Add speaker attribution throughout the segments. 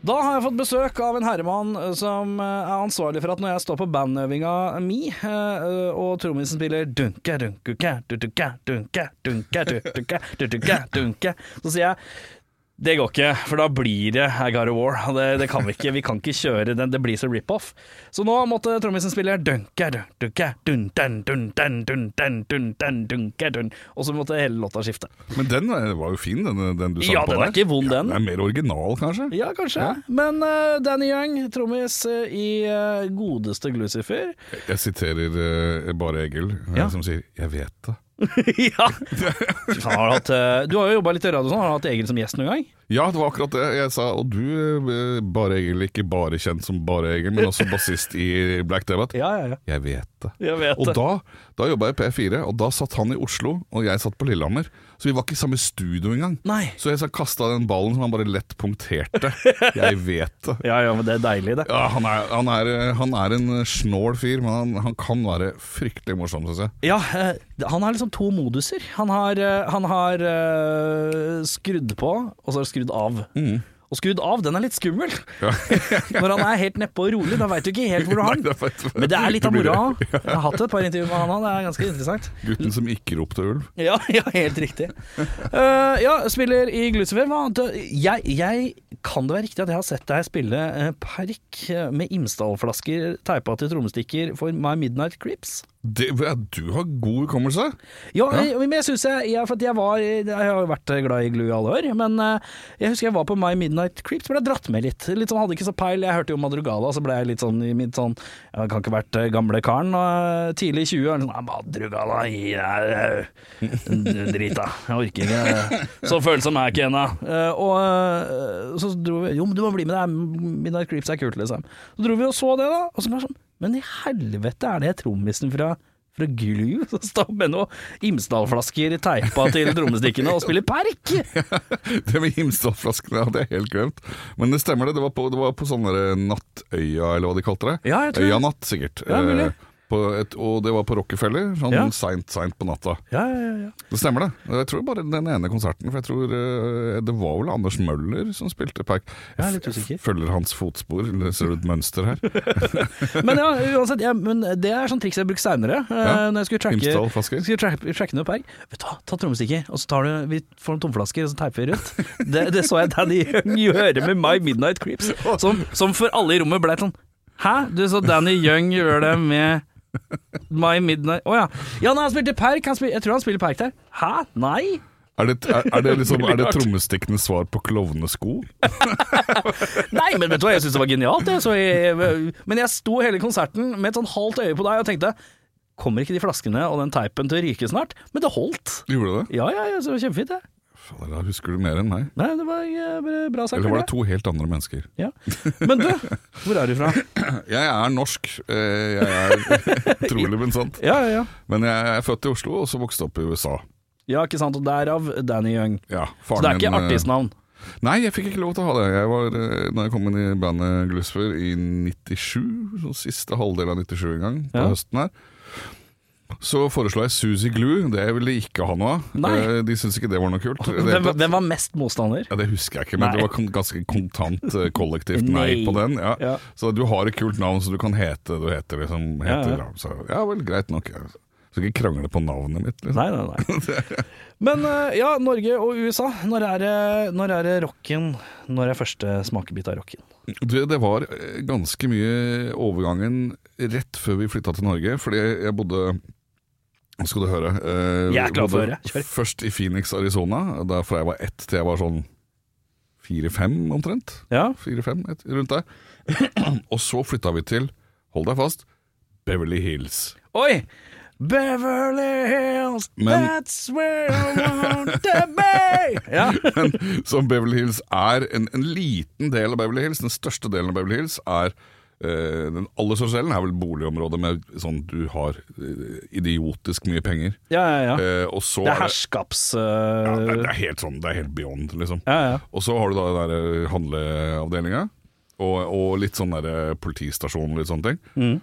Speaker 1: Da har jeg fått besøk av en herremann eh, som eh, er ansvarlig for at når jeg står på bandøvinga mi, eh, eh, og trommisen spiller dunke, dunke, dunke, dunke, dunke, dunke, dunke, dunke, så sier jeg det går ikke, for da blir det I Got A War. og Det, det kan vi ikke. Vi kan ikke kjøre den. Det blir så rip-off. Så nå måtte trommisen spille dunke, dunke, dun, dun, dun, dun, dun, dun, dun, dun, dunke, dun. Og så måtte hele låta skifte.
Speaker 2: Men den eh, var jo fin, den, den du sa
Speaker 1: Ja,
Speaker 2: på
Speaker 1: den er
Speaker 2: der.
Speaker 1: ikke vond, den.
Speaker 2: Den er mer original, kanskje?
Speaker 1: Ja, kanskje. Men eh, Danny Young, trommis eh, i eh, godeste Glucifer.
Speaker 2: Jeg siterer eh, bare Egil, eh,
Speaker 1: Ja.
Speaker 2: som sier 'jeg vet det'.
Speaker 1: ja! Fy faen, har du, hatt, eh, du har jo jobba litt i radio, og sånn. har du hatt Egil som gjest noen gang?
Speaker 2: Ja, det var akkurat det jeg sa. Og du, eh, Bare Egil, ikke bare kjent som Bare Egil, men også bassist i Black Debate.
Speaker 1: Ja, ja, ja.
Speaker 2: Jeg vet det.
Speaker 1: Jeg vet
Speaker 2: og
Speaker 1: det.
Speaker 2: da, da jobba jeg i P4, og da satt han i Oslo, og jeg satt på Lillehammer. Så vi var ikke i samme studio engang.
Speaker 1: Nei.
Speaker 2: Så jeg kasta den ballen som han bare lett punkterte. Jeg vet det.
Speaker 1: Ja, ja, men det er deilig, det.
Speaker 2: Ja, han, er, han, er, eh, han er en snål fyr, men han, han kan være fryktelig morsom, syns jeg.
Speaker 1: Ja, eh, han har liksom to moduser. Han har, eh, han har eh, skrudd på, og så har han skrudd av. Og skrudd av, den er litt skummel. Når han er helt nedpå og rolig, da veit du ikke helt hvor du har
Speaker 2: Nei, det er
Speaker 1: den.
Speaker 2: faktisk-
Speaker 1: Men det er litt av
Speaker 2: Det blir
Speaker 1: moroa. Jeg har hatt et par intervjuer med han òg, det er ganske interessant.
Speaker 2: Gutten som ikke ropte ulv.
Speaker 1: Ja, ja helt riktig. Eh, ja, spiller i Glucifer. Hva annet? Jeg, jeg kan det være riktig at jeg har sett deg spille eh, parykk med Imsdal-flasker teipa til trommestikker for My Midnight Crips?
Speaker 2: Det, ja, du har god hukommelse!
Speaker 1: Ja, eh, men jeg synes jeg, jeg, for at jeg var Jeg har jo vært glad i Glu i alle år, men eh, jeg husker jeg var på My Midnight Crips, ble jeg dratt med litt. Litt sånn, Hadde ikke så peil. Jeg hørte jo Madrugala, så ble jeg litt sånn i mitt sånn Jeg kan ikke vært eh, gamle karen. Og eh, tidlig i 20 sånn, «Nei, Madrugala, gi deg eh, drit, da. Jeg orker ikke. eh, Så følsom er jeg ikke ennå. Eh, Og eh, så dro vi Jo, men du må bli med, det er Midnight Crips er kult, liksom. Så dro vi og så det, da. Og så bare sånn Men i helvete er det trommisen fra fra Gulu, som står med noen Imsdal-flasker teipa til trommestikkene og spiller perk!
Speaker 2: Det med Himstad-flaskene hadde jeg helt glemt. Men det stemmer, det. Det var på, det var på sånn der Nattøya, eller hva de kalte det.
Speaker 1: Ja, jeg tror det.
Speaker 2: Øyanatt, sikkert.
Speaker 1: Ja, mulig.
Speaker 2: Eh, på et, og det var på Rockefeller, sånn
Speaker 1: Ja.
Speaker 2: seint, seint på natta.
Speaker 1: Ja, ja, ja.
Speaker 2: Det stemmer, det. Jeg tror bare den ene konserten. For jeg tror eh, det var vel Anders Møller som spilte Pack.
Speaker 1: Jeg er litt usikker.
Speaker 2: følger hans fotspor, eller ser du et mønster her?
Speaker 1: Men ja, uansett, ja, men det er sånn triks jeg bruker seinere.
Speaker 2: Ja.
Speaker 1: Når jeg skulle tracke,
Speaker 2: Imsdal-flasker.
Speaker 1: skulle tracke, tracke noe perk. Vet du hva, ta trommestikker, og så tar du, vi får noen tomflasker, og så teiper vi rundt. Det, det så jeg Danny Young gjøre med My Midnight Creeps, som, som for alle i rommet ble sånn Hæ? Du så Danny Young gjøre det med My Midnight Å ja. Ja, nei, han spilte perk. Han spil, jeg tror han spiller perk der. Hæ? Nei?
Speaker 2: Er det, er, er det, liksom, er det trommestikkenes svar på klovnenes sko?
Speaker 1: Nei, men vet du hva, jeg syntes det var genialt. Jeg. Så jeg, men jeg sto hele konserten med et sånn halvt øye på deg og tenkte Kommer ikke de flaskene og den teipen til å ryke snart? Men det holdt.
Speaker 2: Gjorde det?
Speaker 1: Ja, ja, ja, så det var kjempefint, det.
Speaker 2: Fader, da husker du mer enn meg.
Speaker 1: Nei, det var eh, bare bra sagt.
Speaker 2: Eller var det
Speaker 1: det.
Speaker 2: to helt andre mennesker?
Speaker 1: Ja. Men du, hvor er du fra?
Speaker 2: Jeg er norsk. eh, Jeg er trolig, men sant.
Speaker 1: Ja, ja, ja.
Speaker 2: Men jeg er født i Oslo, og så vokste opp i USA.
Speaker 1: Ja, ikke sant. Og derav Danny Young.
Speaker 2: Ja,
Speaker 1: Så
Speaker 2: faren
Speaker 1: det er ikke
Speaker 2: min, eh,
Speaker 1: artistnavn.
Speaker 2: Nei, jeg fikk ikke lov til å ha det. Jeg var, eh, når jeg kom inn i bandet Glusfer i 97, sånn siste halvdel av 97 en gang, på
Speaker 1: Ja.
Speaker 2: høsten her, så foreslo jeg Suzy Glue. Det ville jeg ikke ha noe av.
Speaker 1: Nei.
Speaker 2: Eh, De syntes ikke det var noe kult. i det hele
Speaker 1: Hvem,
Speaker 2: tatt.
Speaker 1: hvem var mest motstander?
Speaker 2: Ja, Det husker jeg ikke, men
Speaker 1: Nei.
Speaker 2: det var kon- ganske kontant eh, kollektivt nei
Speaker 1: Nei.
Speaker 2: på den. Ja.
Speaker 1: Ja.
Speaker 2: Så du har et kult navn, så du kan hete du heter liksom
Speaker 1: Ja,
Speaker 2: heter,
Speaker 1: ja.
Speaker 2: ja, Så, ja vel, greit nok. Ja. Så ikke krangle på navnet mitt. Liksom.
Speaker 1: Nei, nei, nei. Men eh, ja, Norge og USA. Når er det, når er det rocken? Når er første smakebit av rocken?
Speaker 2: Du, det var eh, ganske mye overgangen rett før vi flytta til Norge, fordi jeg bodde Nå skal du høre. eh,
Speaker 1: Jeg er klar for å
Speaker 2: bodde
Speaker 1: høre. Kjør.
Speaker 2: Først i Phoenix, Arizona, da fra jeg var ett til jeg var sånn fire-fem omtrent.
Speaker 1: Ja,
Speaker 2: Fire-fem, et- rundt der. Og så flytta vi til, hold deg fast, Beverly Hills.
Speaker 1: Oi! Beverly Hills,
Speaker 2: Men-
Speaker 1: that's where I want to be! Ja.
Speaker 2: Men som Beverly Hills er en, en liten del av Beverly Hills, den største delen av Beverly Hills er eh, den aller største delen er vel boligområdet med sånn du har eh, idiotisk mye penger.
Speaker 1: ja, ja, ja.
Speaker 2: Eh, og så
Speaker 1: Det er
Speaker 2: er det-
Speaker 1: herskaps...
Speaker 2: ja, det,
Speaker 1: øh,
Speaker 2: det er helt sånn, det er helt beyond, liksom.
Speaker 1: Ja, ja.
Speaker 2: Og så har du da den der eh, handleavdelinga, og, og litt sånn der politistasjon og litt sånne ting. Eh,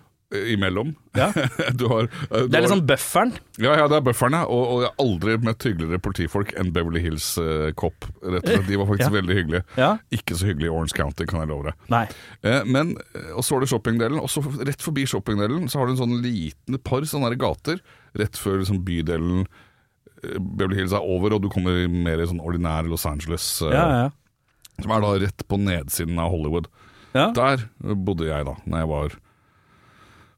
Speaker 2: Imellom.
Speaker 1: Mm. Ja.
Speaker 2: du har, eh, du
Speaker 1: Det er
Speaker 2: har-
Speaker 1: liksom bufferen.
Speaker 2: Ja, ja, det er bufferen, ja. Og, og jeg har aldri møtt hyggeligere politifolk enn Beverly Hills eh, Cop. Rett og slett. De var faktisk
Speaker 1: Ja.
Speaker 2: veldig hyggelige.
Speaker 1: Ja.
Speaker 2: Ikke så hyggelig i Orange County, kan jeg love deg.
Speaker 1: Nei.
Speaker 2: Eh, men, eh, og så har du shoppingdelen, og så rett forbi shoppingdelen så har du en sånn liten et par sånne her gater rett før liksom, bydelen eh, Beverly Hills er over, og du kommer i mer i sånn ordinær Los Angeles, eh,
Speaker 1: Ja, ja.
Speaker 2: som er da rett på nedsiden av Hollywood.
Speaker 1: ja.
Speaker 2: Der eh, bodde jeg da, når jeg var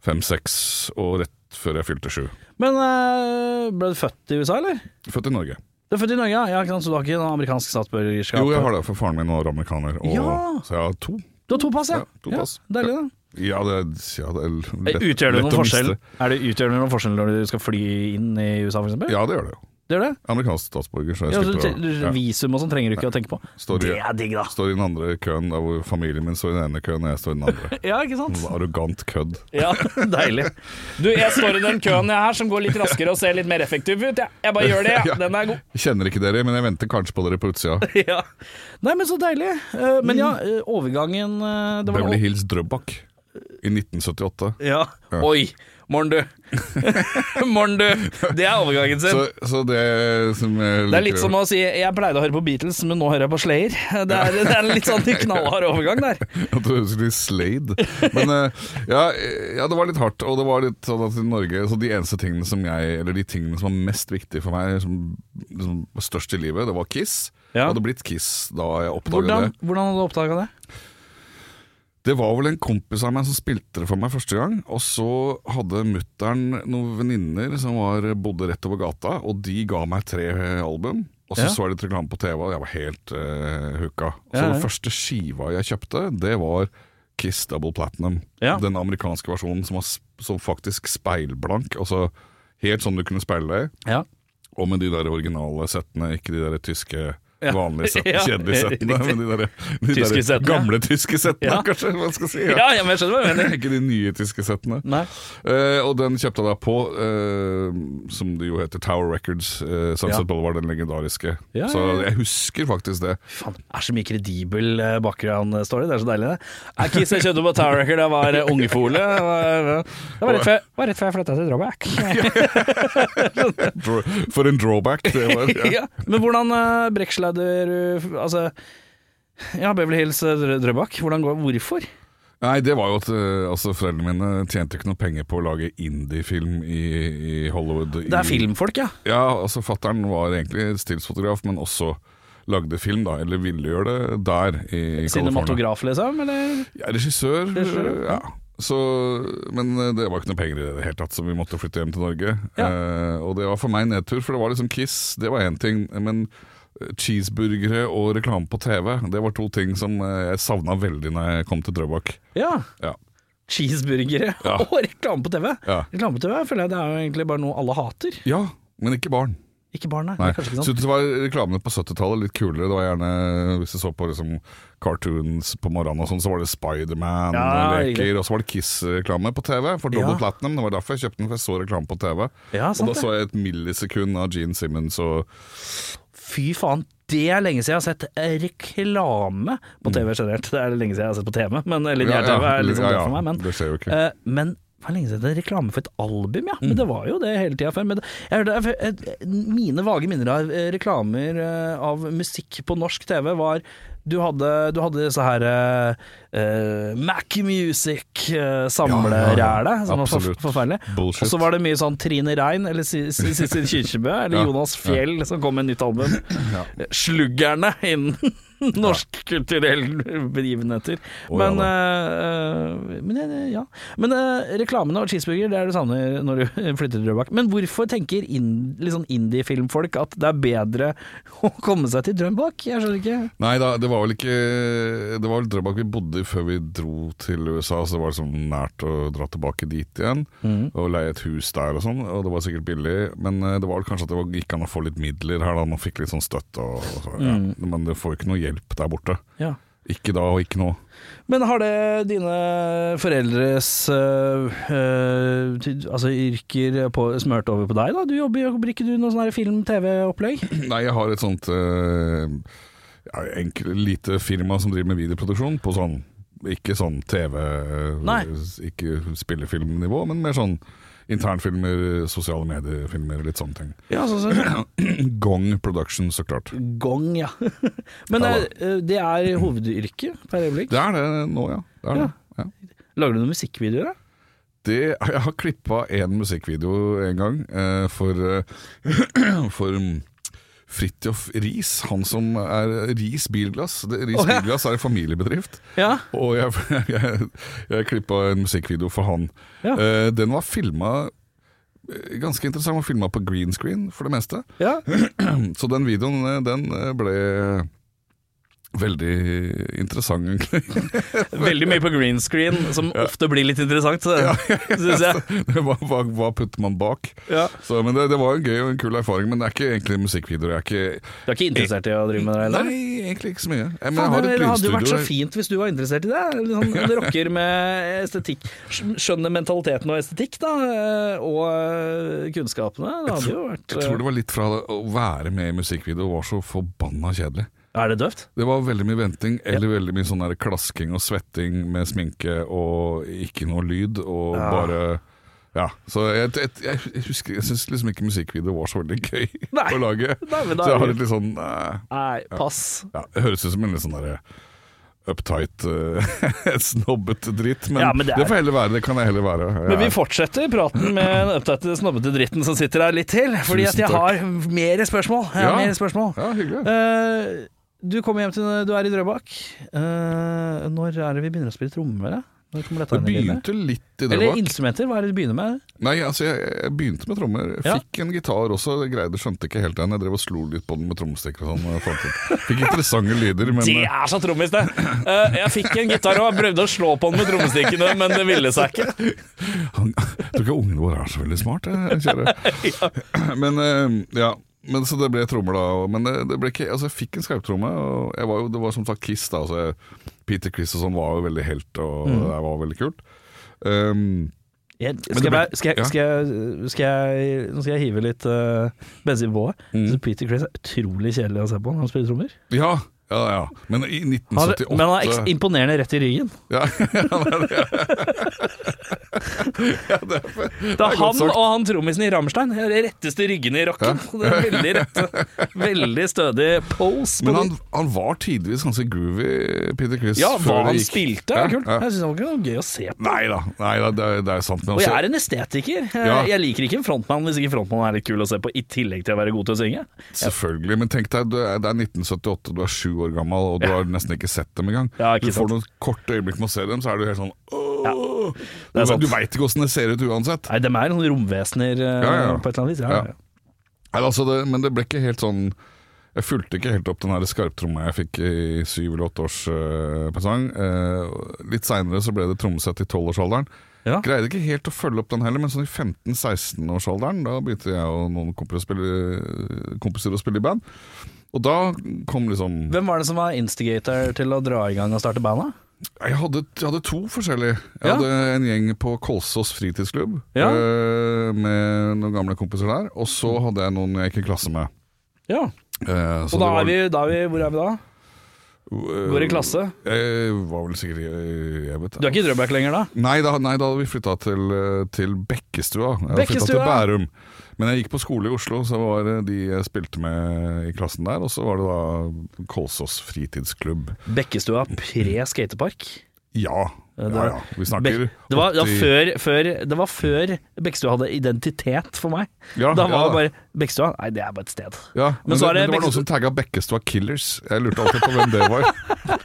Speaker 2: fem-seks, og rett før jeg fylte sju.
Speaker 1: Men øh, ble du født i USA, eller?
Speaker 2: Født i Norge.
Speaker 1: Du er født i Norge, ja. ja ikke sant? Så du har ikke noe amerikansk statsborgerskap?
Speaker 2: Jo, jeg har det, for faren min var amerikaner. Og,
Speaker 1: Ja.
Speaker 2: Så jeg har to.
Speaker 1: Du har to pass, ja.
Speaker 2: Ja, to pass.
Speaker 1: deilig, det.
Speaker 2: Ja, det, ja, det er lett,
Speaker 1: Utgjør det
Speaker 2: lett
Speaker 1: noen
Speaker 2: å
Speaker 1: forskjell?
Speaker 2: miste.
Speaker 1: Er det utgjør det noen forskjell når du skal fly inn i USA, for eksempel?
Speaker 2: Ja, det gjør det jo.
Speaker 1: Det gjør det?
Speaker 2: Amerikansk statsborger, så jeg
Speaker 1: Ja, du,
Speaker 2: slipper
Speaker 1: du,
Speaker 2: å ja.
Speaker 1: visum og sånn trenger du ikke å tenke på.
Speaker 2: Står i,
Speaker 1: Det er digg, da.
Speaker 2: står i den andre køen, der hvor familien min står i den ene køen, og jeg står i den andre.
Speaker 1: Ja, ikke sant?
Speaker 2: Noe Arrogant kødd.
Speaker 1: Ja, deilig.
Speaker 3: Du, jeg står i den køen jeg her som går litt raskere og ser litt mer effektiv ut. Jeg, jeg bare gjør det,
Speaker 2: Ja.
Speaker 3: jeg. Den er god.
Speaker 2: Jeg Kjenner ikke dere, men jeg venter kanskje på dere på utsida.
Speaker 1: Ja. Nei, men så deilig. Eh, Men ja,
Speaker 3: Mm.
Speaker 1: eh, overgangen eh, det var
Speaker 2: Beverly Hills Drøbak i 1978.
Speaker 1: Ja. Oi! Morn, du. Morn, du. Det er overgangen sin.
Speaker 2: Så, så det som
Speaker 1: Det
Speaker 2: jeg
Speaker 1: er litt
Speaker 2: liker-
Speaker 1: som å si 'jeg pleide å høre på Beatles, men nå hører jeg på Slayer'. Det er, det er en litt sånn knallhard overgang der.
Speaker 2: Jeg trodde du skulle si Slade. Men eh, ja, eh, ja, det var litt hardt. Og det var litt sånn at i Norge Så de eneste tingene som jeg Eller de tingene som var mest viktige for meg, som, som var størst i livet, det var Kiss.
Speaker 1: Ja.
Speaker 2: Det hadde blitt Kiss da jeg oppdaget
Speaker 1: Hvordan,
Speaker 2: det.
Speaker 1: hvordan hadde du oppdaga det?
Speaker 2: Det var vel en kompis av meg som spilte det for meg første gang. Og så hadde mutter'n noen venninner som var, bodde rett over gata, og de ga meg tre eh, album. Og så
Speaker 1: Ja.
Speaker 2: så jeg litt reklame på TV, og jeg var helt uh, hooka. Og
Speaker 1: Ja,
Speaker 2: så
Speaker 1: ja.
Speaker 2: den første skiva jeg kjøpte, det var Kiss Double Platinum.
Speaker 1: Ja.
Speaker 2: Den amerikanske versjonen som var s- som faktisk speilblank. Altså helt sånn du kunne speile deg.
Speaker 1: Ja.
Speaker 2: Og med de der originale settene, ikke de der tyske
Speaker 1: Ja.
Speaker 2: vanlige set,
Speaker 1: Ja,
Speaker 2: kjedelige settene.
Speaker 1: riktig.
Speaker 2: Men de der, de
Speaker 1: Tyske
Speaker 2: der
Speaker 1: settene, ja.
Speaker 2: gamle tyske settene,
Speaker 1: Ja.
Speaker 2: kanskje. Hva skal jeg si?
Speaker 1: Ja, ja, men jeg skjønner hva du mener.
Speaker 2: ikke de nye tyske settene.
Speaker 1: Nei.
Speaker 2: Eh, og den kjøpte jeg da på, eh, som det jo heter, Tower Records. eh, Sunset
Speaker 1: Ja.
Speaker 2: Boulevard, den legendariske.
Speaker 1: Ja,
Speaker 2: Så
Speaker 1: ja, ja.
Speaker 2: jeg husker faktisk det.
Speaker 1: Faen, det er så mye kredibel eh, background-story. Det er så deilig, det. Er Kiss jeg kjøpte på Tower Record, det var eh, ungefole. Det var, eh, det var rett før, det var rett før jeg flytta til Drabak.
Speaker 2: Dra- For en drawback det var. Ja.
Speaker 1: ja. Men hvordan uh, brekkslader du Altså, ja, Beverly Hills eh, Drø- Drøbak. Hvordan går Hvorfor?
Speaker 2: Nei, det var jo at eh, altså, foreldrene mine tjente ikke noe penger på å lage indie-film i, i Hollywood.
Speaker 1: Det er
Speaker 2: i-
Speaker 1: filmfolk, ja.
Speaker 2: Ja, altså fatteren var egentlig stillsfotograf, men også lagde film, da. Eller ville gjøre det der i California.
Speaker 1: Cinematograf, liksom? Eller?
Speaker 2: Ja, regissør.
Speaker 1: Regissør,
Speaker 2: ja. Så, men eh, det var ikke noe penger i det hele tatt, så vi måtte flytte hjem til Norge. Eh, og det var for meg en nedtur, for det var liksom Kiss, det var én ting. Men eh, cheeseburgere og reklame på TV, det var to ting som eh, jeg savna veldig når jeg kom til Drøbak.
Speaker 1: Ja.
Speaker 2: Ja.
Speaker 1: Cheeseburgere
Speaker 2: Ja.
Speaker 1: og reklame på TV.
Speaker 2: Ja.
Speaker 1: Reklame på TV føler jeg det er jo egentlig bare noe alle hater.
Speaker 2: ja, men ikke barn.
Speaker 1: Ikke barn, nei. Det
Speaker 2: Nei.
Speaker 1: er kanskje ikke sant.
Speaker 2: Syntes det var reklamene på 70-tallet litt kulere. Det var gjerne, Hvis du så på liksom, cartoons på morgenen, og sånn, så var det Spiderman
Speaker 1: Ja,
Speaker 2: og
Speaker 1: riktig.
Speaker 2: leker. Og så var det Kiss-reklame på TV, for Double
Speaker 1: Ja.
Speaker 2: Platinum. Det var derfor jeg kjøpte den, for jeg så reklame på TV.
Speaker 1: Ja,
Speaker 2: og
Speaker 1: sant
Speaker 2: da
Speaker 1: det.
Speaker 2: så jeg et millisekund av Gene Simmons og
Speaker 1: Fy faen, det er lenge siden jeg har sett eh, reklame på TV generelt. Det er lenge siden jeg har sett på TV, men
Speaker 2: Mm. Ja,
Speaker 1: linjær-TV
Speaker 2: ja,
Speaker 1: er litt sånn
Speaker 2: ja,
Speaker 1: dødt
Speaker 2: ja, Mm.
Speaker 1: for meg. Men,
Speaker 2: det skjer jo ikke.
Speaker 1: eh, men det var lenge siden det er reklame for et album, ja. Men det var jo det hele tida før. Men det- jeg hørte, jeg, jeg- mine vage minner av eh, reklamer eh, av musikk på norsk TV var du hadde, du hadde disse her eh, eh, Mac
Speaker 2: Ja, ja,
Speaker 1: Music-samleræle,
Speaker 2: ja.
Speaker 1: som var for,
Speaker 2: Absolutt.
Speaker 1: forferdelig.
Speaker 2: Bullshit.
Speaker 1: Eh, Og så var det mye sånn Trine Rein eller Si- Si- Sissel Kyrkjebø eller
Speaker 2: Ja.
Speaker 1: Jonas Fjell som kom med nytt album. Sluggerne innen norsk kulturelle begivenheter.
Speaker 2: Å, ja
Speaker 1: men eh, eh, men eh, ja. Men eh, reklamene og cheeseburger, det er det samme når du flytter til Drøbak. Men hvorfor tenker in, litt sånn indie-filmfolk at det er bedre å komme seg til Drøbak? Jeg skjønner ikke.
Speaker 2: Nei da, det var vel ikke Det var vel Drøbak vi bodde i før vi dro til USA, så det var liksom nært å dra tilbake dit igjen. Og leie et hus der og sånn, og det var sikkert billig. Men eh, det var vel kanskje at det var, gikk an å få litt midler her, da. Man fikk litt sånn støtte og, og så, ja.
Speaker 1: Mm.
Speaker 2: Men du får ikke noe hjelp der borte.
Speaker 1: Ja.
Speaker 2: Ikke da og ikke nå.
Speaker 1: Men har det dine foreldres øh, øh, ty- altså yrker på, smørt over på deg, da? Du jobber jobber ikke du i noe sånn her film-TV-opplegg?
Speaker 2: Nei, jeg har et sånt eh, ja, enkel, lite firma som driver med videoproduksjon på sånn Ikke sånn TV, eh,
Speaker 1: Nei.
Speaker 2: ikke spillefilmnivå, men mer sånn internfilmer, sosiale mediefilmer, litt sånne ting.
Speaker 1: Ja, sånn som
Speaker 2: Gong Production, så klart.
Speaker 1: gong, ja. Men
Speaker 2: Ja,
Speaker 1: øh, øh, det er hovedyrket per øyeblikk.
Speaker 2: Det er det nå, ja. Det er
Speaker 1: Ja.
Speaker 2: det. Ja.
Speaker 1: Lager du noen musikkvideoer, da?
Speaker 2: Det, jeg har klippa én musikkvideo en gang eh, for, eh, for mm, Fridtjof Riis, han som er Riis Bilglass. Det- Riis
Speaker 1: Å, ja.
Speaker 2: Bilglass er en familiebedrift.
Speaker 1: Ja.
Speaker 2: Og jeg, jeg, jeg klippa en musikkvideo for han.
Speaker 1: Ja.
Speaker 2: Eh, den var filma Ganske interessant, var filma på green screen for det meste.
Speaker 1: ja.
Speaker 2: Så den videoen eh, den eh, ble veldig interessant, egentlig.
Speaker 1: Veldig mye på green screen, som ofte blir litt interessant, syns jeg.
Speaker 2: hva, hva, hva putter man bak?
Speaker 1: Ja.
Speaker 2: Så, men det, det var en gøy og en kul erfaring, men det er ikke egentlig musikkvideoer. Jeg er ikke,
Speaker 1: Du er ikke interessert i å drive med det? heller?
Speaker 2: nei, egentlig ikke så mye. Jeg, men
Speaker 1: Faen,
Speaker 2: jeg har
Speaker 1: det
Speaker 2: et
Speaker 1: hadde jo vært så
Speaker 2: lydstudio.
Speaker 1: fint hvis du var interessert i det. Litt sånn, en rocker med estetikk. Skj- Skjønner mentaliteten og estetikk, da. eh, Og eh, kunnskapene. Det hadde jo vært
Speaker 2: Jeg tror det var litt fra det, å være med i musikkvideo var så forbanna kjedelig.
Speaker 1: eh, Er det døvt?
Speaker 2: Det var veldig mye venting, eller veldig mye sånn der klasking og svetting med sminke og ikke noe lyd, og
Speaker 1: Ja.
Speaker 2: bare Ja. Så jeg, jeg, jeg husker Jeg syns liksom ikke musikkvideo var så veldig gøy
Speaker 1: Nei.
Speaker 2: å lage.
Speaker 1: Nei, men da
Speaker 2: så jeg
Speaker 1: er
Speaker 2: har
Speaker 1: det-
Speaker 2: et litt sånn eh,
Speaker 1: Nei, pass.
Speaker 2: ja, Det høres ut som en litt sånn derre uptight, eh, snobbete dritt, men,
Speaker 1: Ja, men
Speaker 2: det,
Speaker 1: det er-
Speaker 2: får heller være. Det kan jeg heller være. Jeg
Speaker 1: Men vi
Speaker 2: er-
Speaker 1: fortsetter praten med den opptatte, snobbete dritten som sitter her litt til. Fordi at
Speaker 2: Tusen
Speaker 1: jeg
Speaker 2: takk.
Speaker 1: har mer spørsmål. Jeg har
Speaker 2: Ja.
Speaker 1: mer spørsmål.
Speaker 2: Ja, hyggelig.
Speaker 1: Eh, du kommer hjem til Du er i Drøbak. Eh, når er det vi begynner å spille trommer? da? Når kommer dette
Speaker 2: Det
Speaker 1: inn i bildet?
Speaker 2: begynte litt i
Speaker 1: Eller
Speaker 2: Drøbak.
Speaker 1: instrumenter? Hva er det du begynner med?
Speaker 2: Nei, altså jeg, jeg begynte med trommer.
Speaker 1: Ja.
Speaker 2: Fikk en gitar også. Jeg greide, skjønte ikke helt den. Jeg drev og slo litt på den med trommestikker og sånn. og jeg fant ut. Fikk interessante lyder, men
Speaker 3: Det er så trommis, det! Eh, jeg fikk en gitar og prøvde å slå på den med trommestikkene, men det ville seg ikke.
Speaker 2: eh, han, jeg tror ikke ungene våre er så veldig smart, eh, jeg, kjære. Men eh, ja. Men så det ble trommer, da. og- Men det, det ble ikke, altså jeg fikk en skarptromme. og Jeg var jo, det var som sagt Kiss, da. Så jeg, Peter Chris og sånn var jo veldig helt, og det var veldig kult. Um,
Speaker 1: Jeg, skal,
Speaker 2: det
Speaker 1: jeg,
Speaker 2: ble-
Speaker 1: bare- skal, jeg,
Speaker 2: ja.
Speaker 1: skal, jeg, skal jeg Nå skal jeg hive litt øh, bensin på bålet.
Speaker 2: Mm.
Speaker 1: Så Peter Chris er utrolig kjedelig å se på når han spiller trommer.
Speaker 2: ja, ja, ja. Men i
Speaker 1: Han
Speaker 2: 1978
Speaker 1: er, men han er ekst- imponerende rett i ryggen.
Speaker 2: Ja, han er det. ja, det er, det
Speaker 1: Det er
Speaker 2: godt
Speaker 1: han
Speaker 2: sagt.
Speaker 1: og han trommisen i Rammstein. Det er de retteste ryggene i rocken. Det er veldig rette, veldig stødig pose.
Speaker 2: Men
Speaker 1: På
Speaker 2: han,
Speaker 1: de.
Speaker 2: han var tidvis ganske groovy, Peter Chris.
Speaker 3: Ja, hva
Speaker 2: før det
Speaker 3: han
Speaker 2: gikk.
Speaker 3: spilte, er kult.
Speaker 2: Ja.
Speaker 1: Jeg syns han var ikke noe gøy å se på.
Speaker 2: Nei da, nei da det, er, det er sant. Men
Speaker 1: Og jeg
Speaker 2: altså,
Speaker 1: er en estetiker. Jeg,
Speaker 2: Ja.
Speaker 1: jeg liker ikke en frontmann hvis ikke frontmannen er litt kul å se på, i tillegg til å være god til å synge.
Speaker 2: selvfølgelig. Men tenk deg, du er- det er 1978, du er sju år gammel, og du har nesten ikke sett dem engang.
Speaker 1: Ja, ikke
Speaker 2: du får noen korte øyeblikk med å se dem, så er du helt sånn åh.
Speaker 1: det er sant.
Speaker 2: Du, du veit ikke åssen det ser ut uansett.
Speaker 1: Nei, de er noen romvesener øh,
Speaker 2: Ja, ja.
Speaker 1: på et eller annet vis. Ja,
Speaker 2: Ja.
Speaker 1: ja.
Speaker 2: Nei, altså det, men det ble ikke helt sånn Jeg fulgte ikke helt opp den her skarptromma jeg fikk i syv eller åtte års eh, presang. Eh, litt seinere så ble det trommesett i tolvårsalderen.
Speaker 1: Ja.
Speaker 2: Greide ikke helt å følge opp den heller, men sånn i 15-16-årsalderen da begynte jeg og noen kompiser å, spille, kompiser å spille i band. Og da kom liksom
Speaker 1: Hvem var det som var instigator til å dra i gang og starte bandet?
Speaker 2: Jeg hadde, jeg hadde to forskjellige. Jeg
Speaker 1: Ja.
Speaker 2: hadde en gjeng på Kolsås fritidsklubb
Speaker 1: Ja.
Speaker 2: eh, med noen gamle kompiser der. Og så hadde jeg noen jeg gikk i klasse med.
Speaker 1: Ja,
Speaker 2: Eh, så
Speaker 1: og da
Speaker 2: det var- eh,
Speaker 1: er vi, da er vi Hvor er vi da? Går i klasse?
Speaker 2: Jeg var vel sikkert i- Jeg vet
Speaker 1: Du er ikke i Drøbak lenger da?
Speaker 2: Nei, da, nei, da hadde vi flytta til, eh, til Bekkestua. Jeg hadde flyttet til
Speaker 1: Bekkestua!
Speaker 2: Bærum. Men jeg gikk på skole i Oslo, så var det de jeg spilte med i klassen der. Og så var det da Kolsås fritidsklubb.
Speaker 1: Bekkestua pre skatepark. Eh,
Speaker 2: Ja,
Speaker 1: Det,
Speaker 2: Ja, ja. Vi snakker
Speaker 1: Be- det var, det var
Speaker 2: 80
Speaker 1: før, før, det var før Bekkestua hadde identitet for meg.
Speaker 2: Ja,
Speaker 1: da var
Speaker 2: Ah, ja.
Speaker 1: det bare Bekkestua Nei, det er bare et sted.
Speaker 2: Ja, men,
Speaker 1: så
Speaker 2: det,
Speaker 1: er det
Speaker 2: men det var
Speaker 1: Bekkestua-
Speaker 2: noen som tagga Bekkestua Killers. Jeg lurte alltid på hvem det var.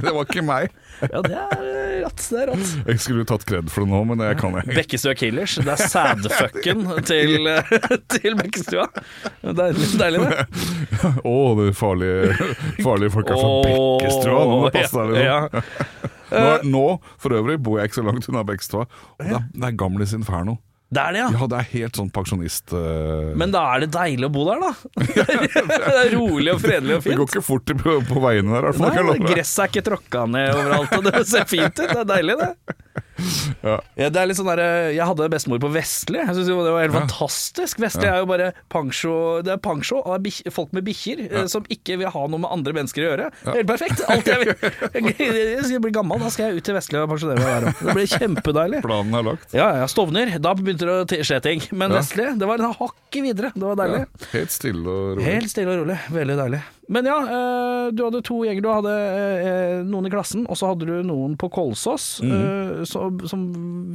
Speaker 2: det var ikke meg.
Speaker 1: Ja, det er eh, rått. Det er rått.
Speaker 2: Jeg skulle jo tatt kred for det nå, men jeg kan ikke.
Speaker 3: Bekkestua Killers.
Speaker 1: Det er sædfucken til, til Bekkestua. Deilig, deilig det.
Speaker 2: Å, de farlige, farlige folka fra Bekkestua. Nå må det passe deg litt.
Speaker 1: Ja.
Speaker 2: Nå, nå, for øvrig, bor jeg ikke så langt unna Bekkestua. Og det er, det er Gamlis Inferno.
Speaker 1: Det er det, ja.
Speaker 2: Ja, det er helt sånn pensjonist... eh,
Speaker 1: Men da er det deilig å bo der, da. Det er rolig og fredelig og
Speaker 2: det
Speaker 1: fint.
Speaker 2: går ikke fort i- på, på veiene der, i hvert fall. kan jeg
Speaker 1: Nei,
Speaker 2: love deg.
Speaker 1: gresset er ikke tråkka ned overalt, og det ser fint ut. Det er deilig, det.
Speaker 2: Ja.
Speaker 1: Ja, det er litt sånn der, eh, jeg hadde bestemor på Vestli. Jeg synes jo det var helt fantastisk. Vestli er jo bare pensjo, det er pensjo av bikk- folk med bikkjer eh, som ikke vil ha noe med andre mennesker å gjøre. Det er helt perfekt. Alt jeg vil. Jeg, skal bli gammel, da skal jeg ut til Vestli og pensjonere meg der òg. Det blir kjempedeilig.
Speaker 2: Planen er lagt.
Speaker 1: Ja, ja, Stovner. Da begynte det å t- skje ting. Men
Speaker 2: Ja.
Speaker 1: Vestli, det var en hakket videre. Det var deilig.
Speaker 2: Ja, helt stille og rolig.
Speaker 1: Helt stille og rolig. Veldig deilig. Men ja, eh, du hadde to gjenger. Du hadde eh, noen i klassen, og så hadde du noen på Kolsås eh, som, som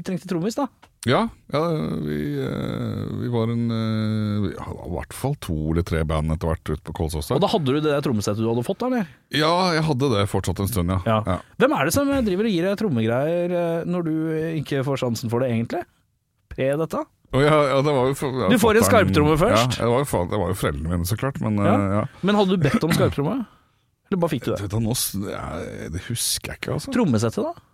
Speaker 1: trengte trommis, da.
Speaker 2: Ja, ja vi, eh, vi var en eh, vi, ja, I hvert fall to eller tre band etter hvert ute på Kolsås.
Speaker 1: Og
Speaker 2: der.
Speaker 1: da hadde du det der trommesettet du hadde fått, da, eller?
Speaker 2: Ja, jeg hadde det fortsatt en stund, ja. Ja.
Speaker 1: Hvem er det som driver og gir deg trommegreier eh, når du ikke får sjansen for det, egentlig? Pre dette?
Speaker 2: Og ja, ja, det var jo, for- ja,
Speaker 1: Du får en
Speaker 2: fatter'n-
Speaker 1: skarptromme først.
Speaker 2: Ja, det var, jo, fa- det var jo foreldrene mine, så klart. Men eh,
Speaker 1: Ja.
Speaker 2: ja.
Speaker 1: Men hadde du bedt om skarptromme? Eller bare fikk du det?
Speaker 2: Vet du, nå, s- det er- det husker jeg ikke, altså.
Speaker 1: Trommesettet, da?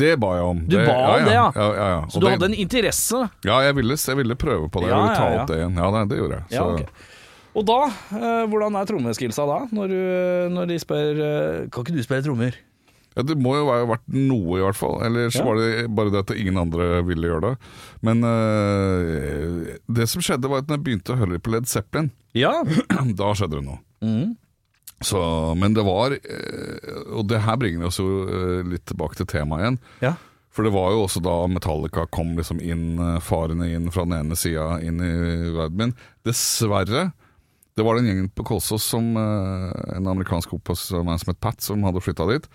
Speaker 2: Det ba jeg om.
Speaker 1: Du ba om
Speaker 2: ja,
Speaker 1: det,
Speaker 2: ja.
Speaker 1: ja.
Speaker 2: ja, ja, ja.
Speaker 1: Så
Speaker 2: Og
Speaker 1: du
Speaker 2: det-
Speaker 1: hadde en interesse?
Speaker 2: Ja, jeg ville, jeg ville prøve på det.
Speaker 1: Ja,
Speaker 2: jeg ville ta
Speaker 1: ja, ja.
Speaker 2: opp det igjen. Ja, nei, det gjorde jeg.
Speaker 1: Ja,
Speaker 2: så-
Speaker 1: ok. Og da, eh, hvordan er trommeskillsa da, når, du, når de spør eh, Kan ikke du spille trommer?
Speaker 2: Ja, det må jo ha vært noe, i hvert fall. Ellers
Speaker 1: Ja.
Speaker 2: var det bare det at ingen andre ville gjøre det. Men eh, det som skjedde, var at når jeg begynte å høre på Led Zeppelin,
Speaker 1: Ja,
Speaker 2: da skjedde det noe.
Speaker 1: Mhm.
Speaker 2: Så, men det var eh, Og det her bringer oss jo eh, litt tilbake til temaet igjen.
Speaker 1: Ja.
Speaker 2: For det var jo også da Metallica kom liksom inn, eh, farende inn fra den ene sida inn i verden min. Dessverre. Det var den gjengen på Kolsås som eh, en amerikansk kompis av meg som het Pat, som hadde flytta dit.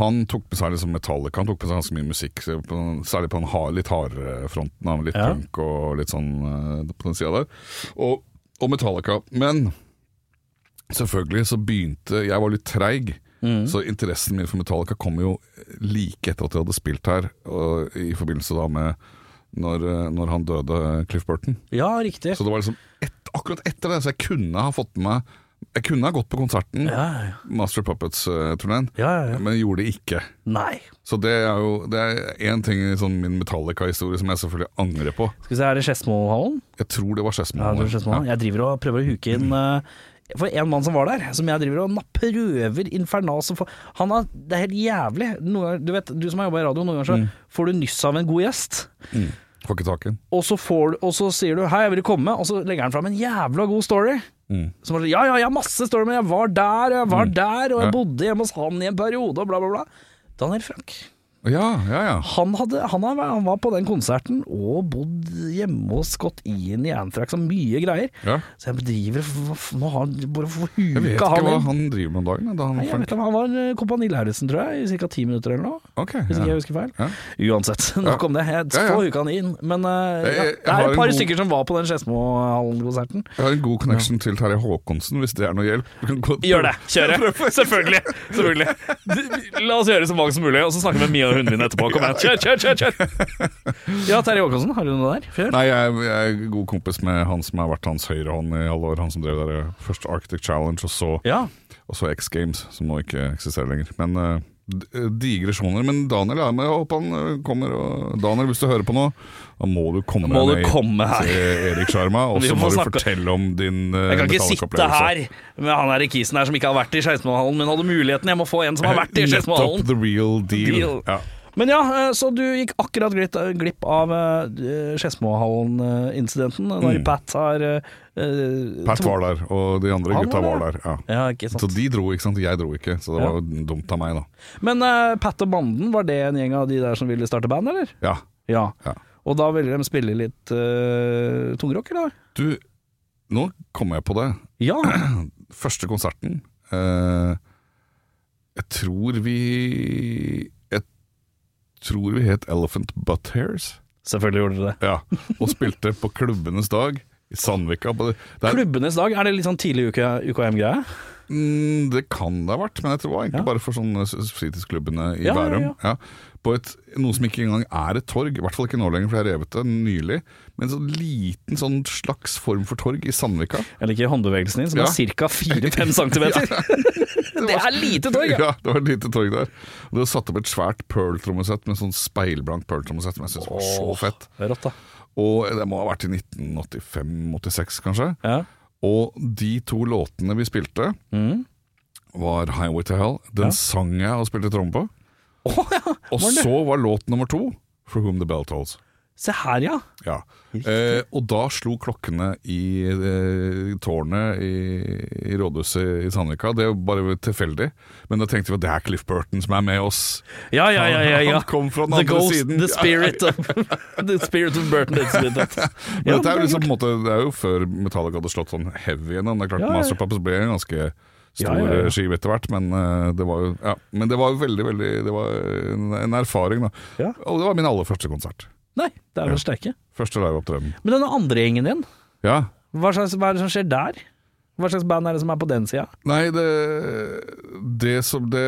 Speaker 2: Han tok med seg liksom Metallica, han tok med seg ganske mye musikk, så på- særlig på den hard, litt hardere fronten, av litt
Speaker 1: Ja.
Speaker 2: punk og litt sånn eh, på den sida der. Og, og Metallica. Men selvfølgelig så begynte Jeg var litt treig,
Speaker 1: Mm.
Speaker 2: så interessen min for Metallica kom jo like etter at jeg hadde spilt her, og, i forbindelse da med når, eh, når han døde, Cliff Burton.
Speaker 1: ja riktig.
Speaker 2: Så det var liksom et, akkurat etter det, så jeg kunne ha fått med meg Jeg kunne ha gått på konserten,
Speaker 1: Ja, ja,
Speaker 2: Master of Puppets-turneen,
Speaker 1: ja, ja, ja.
Speaker 2: men gjorde det ikke.
Speaker 1: Nei.
Speaker 2: Så det er jo Det er én ting i sånn min Metallica-historie som jeg selvfølgelig angrer på.
Speaker 1: Skal vi se, er det Skedsmohallen?
Speaker 2: Jeg tror det var Skedsmo.
Speaker 1: Ja, det er Skedsmohallen. Jeg driver og prøver å huke inn eh, For en mann som var der, som jeg driver og na- prøver infernal som får Han har Det er helt jævlig. Noen ganger, du vet, du som har jobba i radio, noen ganger
Speaker 2: Mm.
Speaker 1: så får du nyss av en god gjest.
Speaker 2: Får ikke tak i den.
Speaker 1: og så, får, du- og så sier du 'hei, jeg ville komme', og så legger han fram en jævla god story.
Speaker 2: Mm.
Speaker 1: Som er sånn 'ja ja, jeg har masse story, men jeg var der, og jeg var der, og jeg
Speaker 2: Ja.
Speaker 1: bodde hjemme hos han i en periode', og bla, bla, bla. Daniel Frank.
Speaker 2: Ja, ja, ja.
Speaker 1: Han, hadde, han, har- han var på den konserten og bodd hjemme hos Scott Ian i Anthrax og mye greier.
Speaker 2: ja.
Speaker 1: Så jeg bedriver hva f- Nå har han bare for
Speaker 2: Jeg vet
Speaker 1: huka
Speaker 2: ikke
Speaker 1: han
Speaker 2: hva
Speaker 1: inn.
Speaker 2: han driver med om dagen. Da han
Speaker 1: Nei, jeg vet
Speaker 2: Frank-
Speaker 1: ikke, Han var eh, Kompani Lauritzen, tror jeg, i ca. ti minutter eller noe.
Speaker 2: Ok,
Speaker 1: Hvis ikke
Speaker 2: ja.
Speaker 1: jeg husker feil.
Speaker 2: Ja.
Speaker 1: Uansett, nok om det. Jeg
Speaker 2: Ja, ja.
Speaker 1: får uka han inn. Men eh,
Speaker 2: Jeg-
Speaker 1: ja,
Speaker 2: jeg- jeg
Speaker 1: det
Speaker 2: har
Speaker 1: er
Speaker 2: en
Speaker 1: et par
Speaker 2: god-
Speaker 1: stykker som var på den Skedsmohallen-konserten.
Speaker 2: Jeg har en god connection til Terje Håkonsen, hvis det er noe hjelp. Du kan gå-
Speaker 3: Gjør det. Kjør det. Selvfølgelig. Selvfølgelig. Du- La oss gjøre så mange som mulig, og så snakke med Mia og hunden min etterpå. Kom igjen. Kjør, kjør, kjør! kjør.
Speaker 1: Ja, Terje Håkonsen, har du noe der? Før?
Speaker 2: Nei, jeg, jeg er god kompis med han som har vært hans høyrehånd i alle år. Han som drev der eh, først Arctic Challenge, og så
Speaker 1: Ja.
Speaker 2: Og så X Games, som nå ikke eksisterer lenger. Men eh, d- digresjoner. Men Daniel er med, jeg håper han eh, kommer. Og Daniel, hvis du hører på nå, da må du komme
Speaker 3: Må du
Speaker 2: ned
Speaker 3: komme her.
Speaker 2: til Erik Sjarma, og
Speaker 3: Vi
Speaker 2: så
Speaker 3: må
Speaker 2: må du
Speaker 3: snakke-
Speaker 2: fortelle om din uh,
Speaker 3: Jeg kan ikke sitte her med han her i kisen her som ikke har vært i Skedsmohallen, men hadde muligheten. Jeg må få en som har vært i
Speaker 2: Nettopp
Speaker 3: Skedsmohallen.
Speaker 2: the real deal.
Speaker 3: Deal.
Speaker 2: Ja.
Speaker 1: Men ja, eh, så du gikk akkurat glitt, glipp av eh, Skedsmohallen-incidenten, når Pat har eh, eh,
Speaker 2: Mm. Pat
Speaker 1: to-
Speaker 2: var der, og de andre
Speaker 1: Han
Speaker 2: gutta
Speaker 1: var
Speaker 2: var der. Ja.
Speaker 1: Ja, ikke
Speaker 2: Så
Speaker 1: sant.
Speaker 2: de dro, ikke sant. Jeg dro ikke, så det var jo dumt av meg, da.
Speaker 1: Men eh, Pat og Banden, var det en gjeng av de der som ville starte band, eller?
Speaker 2: Ja.
Speaker 1: Ja.
Speaker 2: Ja.
Speaker 1: Og da ville de spille litt uh, tungrock, eller?
Speaker 2: Du, nå kom jeg på det.
Speaker 1: Ja.
Speaker 2: første konserten eh, Jeg tror vi Jeg tror vi het Elephant Butthairs.
Speaker 1: Selvfølgelig gjorde dere det.
Speaker 2: Ja, og spilte på klubbenes dag i Sandvika. På det, det, er,
Speaker 1: Klubbenes dag, er det litt sånn tidlig uke, UKM-greie?
Speaker 2: mm, det kan det ha vært, men jeg tror det var egentlig
Speaker 1: Ja.
Speaker 2: bare for sånne s- fritidsklubbene i
Speaker 1: Ja, ja,
Speaker 2: Bærum.
Speaker 1: ja.
Speaker 2: Ja. På et, noe som ikke engang er et torg, i hvert fall ikke nå lenger, for jeg revet det nylig. Men en sånn liten sånn slags form for torg i Sandvika.
Speaker 1: Jeg liker håndbevegelsen din, som
Speaker 2: Ja.
Speaker 1: er ca. 4-5 cm. det er lite torg! ja.
Speaker 2: Ja, det var et lite torg der. Og det var satt opp et svært Pearl-trommesett med sånn speilblankt Pearl-trommesett, som jeg syns var så fett.
Speaker 1: Det er rått, da.
Speaker 2: Og det må ha vært i 1985-86, kanskje.
Speaker 1: Ja.
Speaker 2: Og de to låtene vi spilte,
Speaker 1: Mm.
Speaker 2: var Highway to Hell. Den
Speaker 1: Ja.
Speaker 2: sang jeg og spilte tromme på.
Speaker 1: Å, ja.
Speaker 2: Og
Speaker 1: Var det?
Speaker 2: så var låt nummer to For Whom the Bell Tolls.
Speaker 1: Se her, ja.
Speaker 2: Ja. Eh, og da slo klokkene i eh, tårnet i, i rådhuset i Sandvika. Det er jo bare tilfeldig, men da tenkte vi at det er Cliff Burton som er med oss.
Speaker 1: Ja, ja, ja. ja, ja.
Speaker 2: Han kom fra den
Speaker 1: the
Speaker 2: andre
Speaker 1: ghost,
Speaker 2: siden.
Speaker 1: The spirit of, the spirit of Burton Incident.
Speaker 2: Men dette er jo liksom, på en måte, det er jo før Metallica hadde slått sånn heavy igjennom. Det er klart
Speaker 1: Ja, ja, ja.
Speaker 2: Master Puppets ble en ganske stor
Speaker 1: Ja, ja, ja.
Speaker 2: skive etter hvert, men, eh, det var jo, ja, men det var jo veldig, veldig Det var en, en erfaring, da.
Speaker 1: Ja.
Speaker 2: Og det var min aller første konsert.
Speaker 1: Nei, det er vel sterke.
Speaker 2: Første liveopptreden.
Speaker 1: Men denne andre gjengen din,
Speaker 2: Ja.
Speaker 1: hva, slags, hva er det som skjer der? Hva slags band er det som er på den sida?
Speaker 2: Nei, det, det, som, det,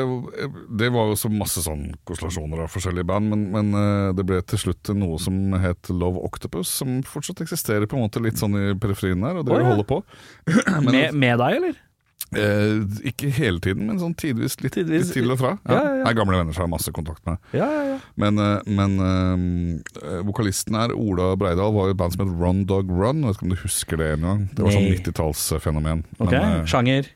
Speaker 2: det var jo så masse sånn konstellasjoner av forskjellige band, men, men eh, det ble til slutt noe som het Love Octopus, som fortsatt eksisterer på en måte litt sånn i periferien her, og det
Speaker 1: Å, ja.
Speaker 2: holder på.
Speaker 1: Med, med deg, eller?
Speaker 2: Eh, ikke hele tiden, men sånn tidvis litt,
Speaker 1: Tidvis-
Speaker 2: litt til og fra.
Speaker 1: Ja, ja, ja.
Speaker 2: Det er gamle venner som jeg har masse kontakt med.
Speaker 1: Ja, ja, ja.
Speaker 2: Men, eh, men eh, vokalisten her, Ola Breidal, var jo i et band som het Run Dog Run. Jeg vet ikke om du husker det en gang? Det var sånn
Speaker 1: Nei.
Speaker 2: 90-tallsfenomen.
Speaker 1: Ok,
Speaker 2: Men, eh,
Speaker 1: Sjanger.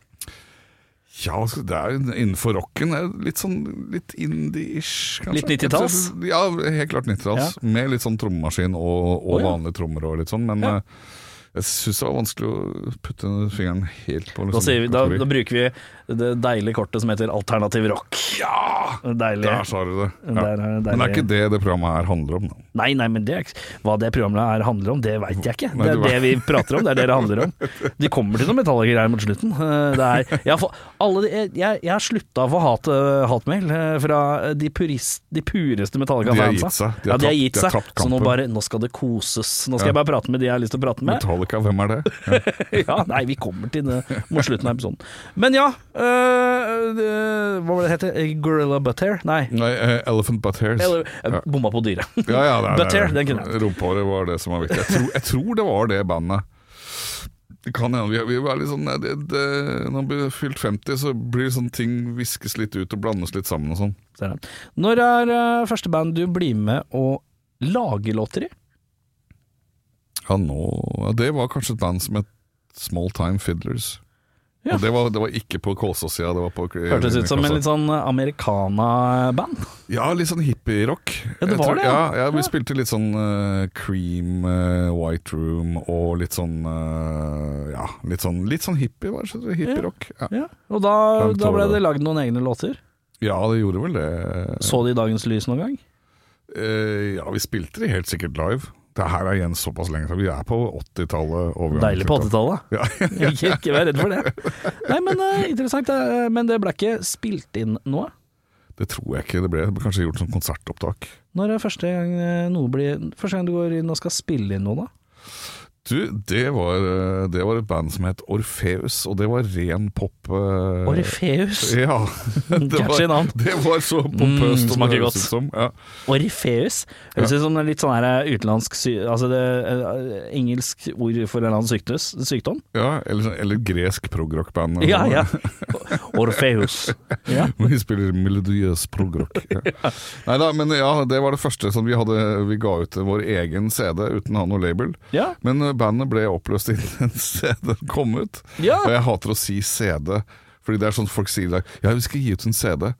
Speaker 2: ja, altså, det er jo innenfor rocken. er det Litt sånn litt indie-ish, kanskje.
Speaker 1: Litt 90-talls?
Speaker 2: Ja, helt klart 90-talls. Med litt sånn trommemaskin og, og
Speaker 1: Å, ja.
Speaker 2: vanlige trommer og litt sånn. Men
Speaker 1: Ja.
Speaker 2: eh, jeg syns det var vanskelig å putte fingeren helt på.
Speaker 1: Da,
Speaker 2: liksom,
Speaker 1: sier vi, da,
Speaker 2: kategori.
Speaker 1: da bruker vi det deilige kortet som heter alternativ rock.
Speaker 2: ja!
Speaker 1: Deilig.
Speaker 2: Der sa du det. Ja.
Speaker 1: Der er det deilig.
Speaker 2: Men det er ikke det det programmet her handler om. Da.
Speaker 1: Nei, nei, men det, er ikke- hva det programmet her handler om, det veit jeg ikke.
Speaker 2: Nei,
Speaker 1: Det er
Speaker 2: du vet.
Speaker 1: det vi prater om, det er det det handler om. De kommer til noen metallgreier mot slutten. Eh, Det er, jeg, har, få- alle, de- jeg, jeg jeg har slutta å få hat, eh, hatmail eh, fra de, purist, de pureste
Speaker 2: De har
Speaker 1: Metallica-fansa.
Speaker 2: gitt seg.
Speaker 1: Ja, de har gitt seg,
Speaker 2: tapt
Speaker 1: så nå,
Speaker 2: kampen.
Speaker 1: bare, nå skal det koses. Nå skal jeg
Speaker 2: Ja.
Speaker 1: bare prate med de jeg har lyst til å prate med.
Speaker 2: Metallica, hvem er det? Ja.
Speaker 1: Ja, nei, vi kommer til det mot slutten av episoden. Men ja, øh, øh, hva var det det het? Gorilla Butter? Nei.
Speaker 2: Nei, eh, Elephant Butt Hairs.
Speaker 1: Eller,
Speaker 2: Ja.
Speaker 1: jeg bomma på dyret.
Speaker 2: Ja, ja, det er-
Speaker 1: Butt hair,
Speaker 2: det er-
Speaker 1: den kunne jeg.
Speaker 2: Rumpehåret var det som var viktig. Jeg tror, jeg tror det var det bandet. Det kan hende. Vi, vi var litt sånn det, det, Når man blir fylt 50, så blir sånne ting viskes litt ut og blandes litt sammen og sånn.
Speaker 1: Ser jeg. Når er øh, første band du blir med og lager låter i?
Speaker 2: Ja, nå ja, Det var kanskje et band som het Small Time Fiddlers.
Speaker 1: Ja.
Speaker 2: Og det var, det var ikke på Kolsås-sida. det var på-
Speaker 1: Hørtes ut som en
Speaker 2: Kassa.
Speaker 1: litt sånn americana-band.
Speaker 2: Ja, litt sånn hippie-rock.
Speaker 1: Ja, det
Speaker 2: Jeg
Speaker 1: var
Speaker 2: tror-
Speaker 1: det,
Speaker 2: ja.
Speaker 1: ja.
Speaker 2: ja. Vi
Speaker 1: Ja.
Speaker 2: spilte litt sånn eh, Cream, eh, White Room og litt sånn eh, Ja, litt sånn, litt sånn hippie, hva er det som heter? hippie-rock. Ja.
Speaker 1: Ja. Og da,
Speaker 2: Langt
Speaker 1: da ble
Speaker 2: over
Speaker 1: det
Speaker 2: det.
Speaker 1: lagd noen egne låter.
Speaker 2: ja, det gjorde vel det.
Speaker 1: Så de dagens lys noen gang?
Speaker 2: Eh, ja, vi spilte det helt sikkert live. Det her er igjen såpass lenge siden. Vi er på 80-tallet. overgangen
Speaker 1: Deilig på
Speaker 2: til
Speaker 1: 80-tallet.
Speaker 2: Ja,
Speaker 1: Ikke, ikke vær redd for det. Nei, men øh, interessant. øh, Men det ble ikke spilt inn noe?
Speaker 2: Det tror jeg ikke det ble. Det ble kanskje gjort som konsertopptak.
Speaker 1: Når er første gang eh, noe blir Første gang du går inn og skal spille inn noe, da?
Speaker 2: Du, det var, eh, det var et band som het Orfeus, og det var ren pop. eh,
Speaker 1: Orfeus.
Speaker 2: Ja. det
Speaker 1: Catchy
Speaker 2: var,
Speaker 1: navn.
Speaker 2: det var så pompøst.
Speaker 3: Mm,
Speaker 2: og
Speaker 3: smaker
Speaker 2: det
Speaker 3: godt.
Speaker 2: høres ut Som, ja.
Speaker 1: Orfeus. Høres ut som en litt sånn her eh, utenlandsk sy Altså det eh, engelsk ord for en eller annen syktus, sykdom.
Speaker 2: ja, eller, sånn- eller gresk progrockband.
Speaker 1: Ja, ja. Orfeus. Ja.
Speaker 2: Vi spiller melodiøs progrock. Ja. Nei da, men ja, det var det første som vi hadde Vi ga ut vår egen CD uten å ha noe label.
Speaker 1: Ja.
Speaker 2: Men eh, bandet ble oppløst innen CD-en kom ut.
Speaker 1: ja.
Speaker 2: Og jeg hater å si CD, fordi det er sånn folk sier i dag Ja, vi skal gi ut en CD.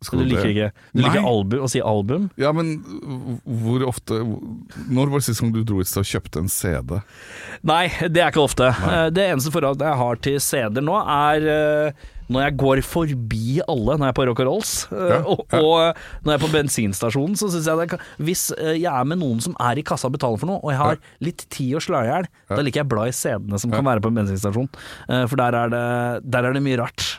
Speaker 1: Så du liker ikke Du
Speaker 2: Nei.
Speaker 1: liker album, å si album?
Speaker 2: Ja, men hvor ofte Når var det sist gang du dro et sted og kjøpte en CD?
Speaker 1: Nei, det er ikke ofte. Eh, Det eneste forholdet jeg har til CD-er nå, er eh, når jeg går forbi alle når jeg er på Rock and Rolls, eh,
Speaker 2: Ja,
Speaker 1: og,
Speaker 2: ja.
Speaker 1: og eh, når jeg er på bensinstasjonen, så syns jeg det kan Hvis eh, jeg er med noen som er i kassa og betaler for noe, og jeg har litt tid å slå i hjel, da liker jeg å bla i CD-ene som kan være på en bensinstasjon. Eh, For der er, det, der er det mye rart.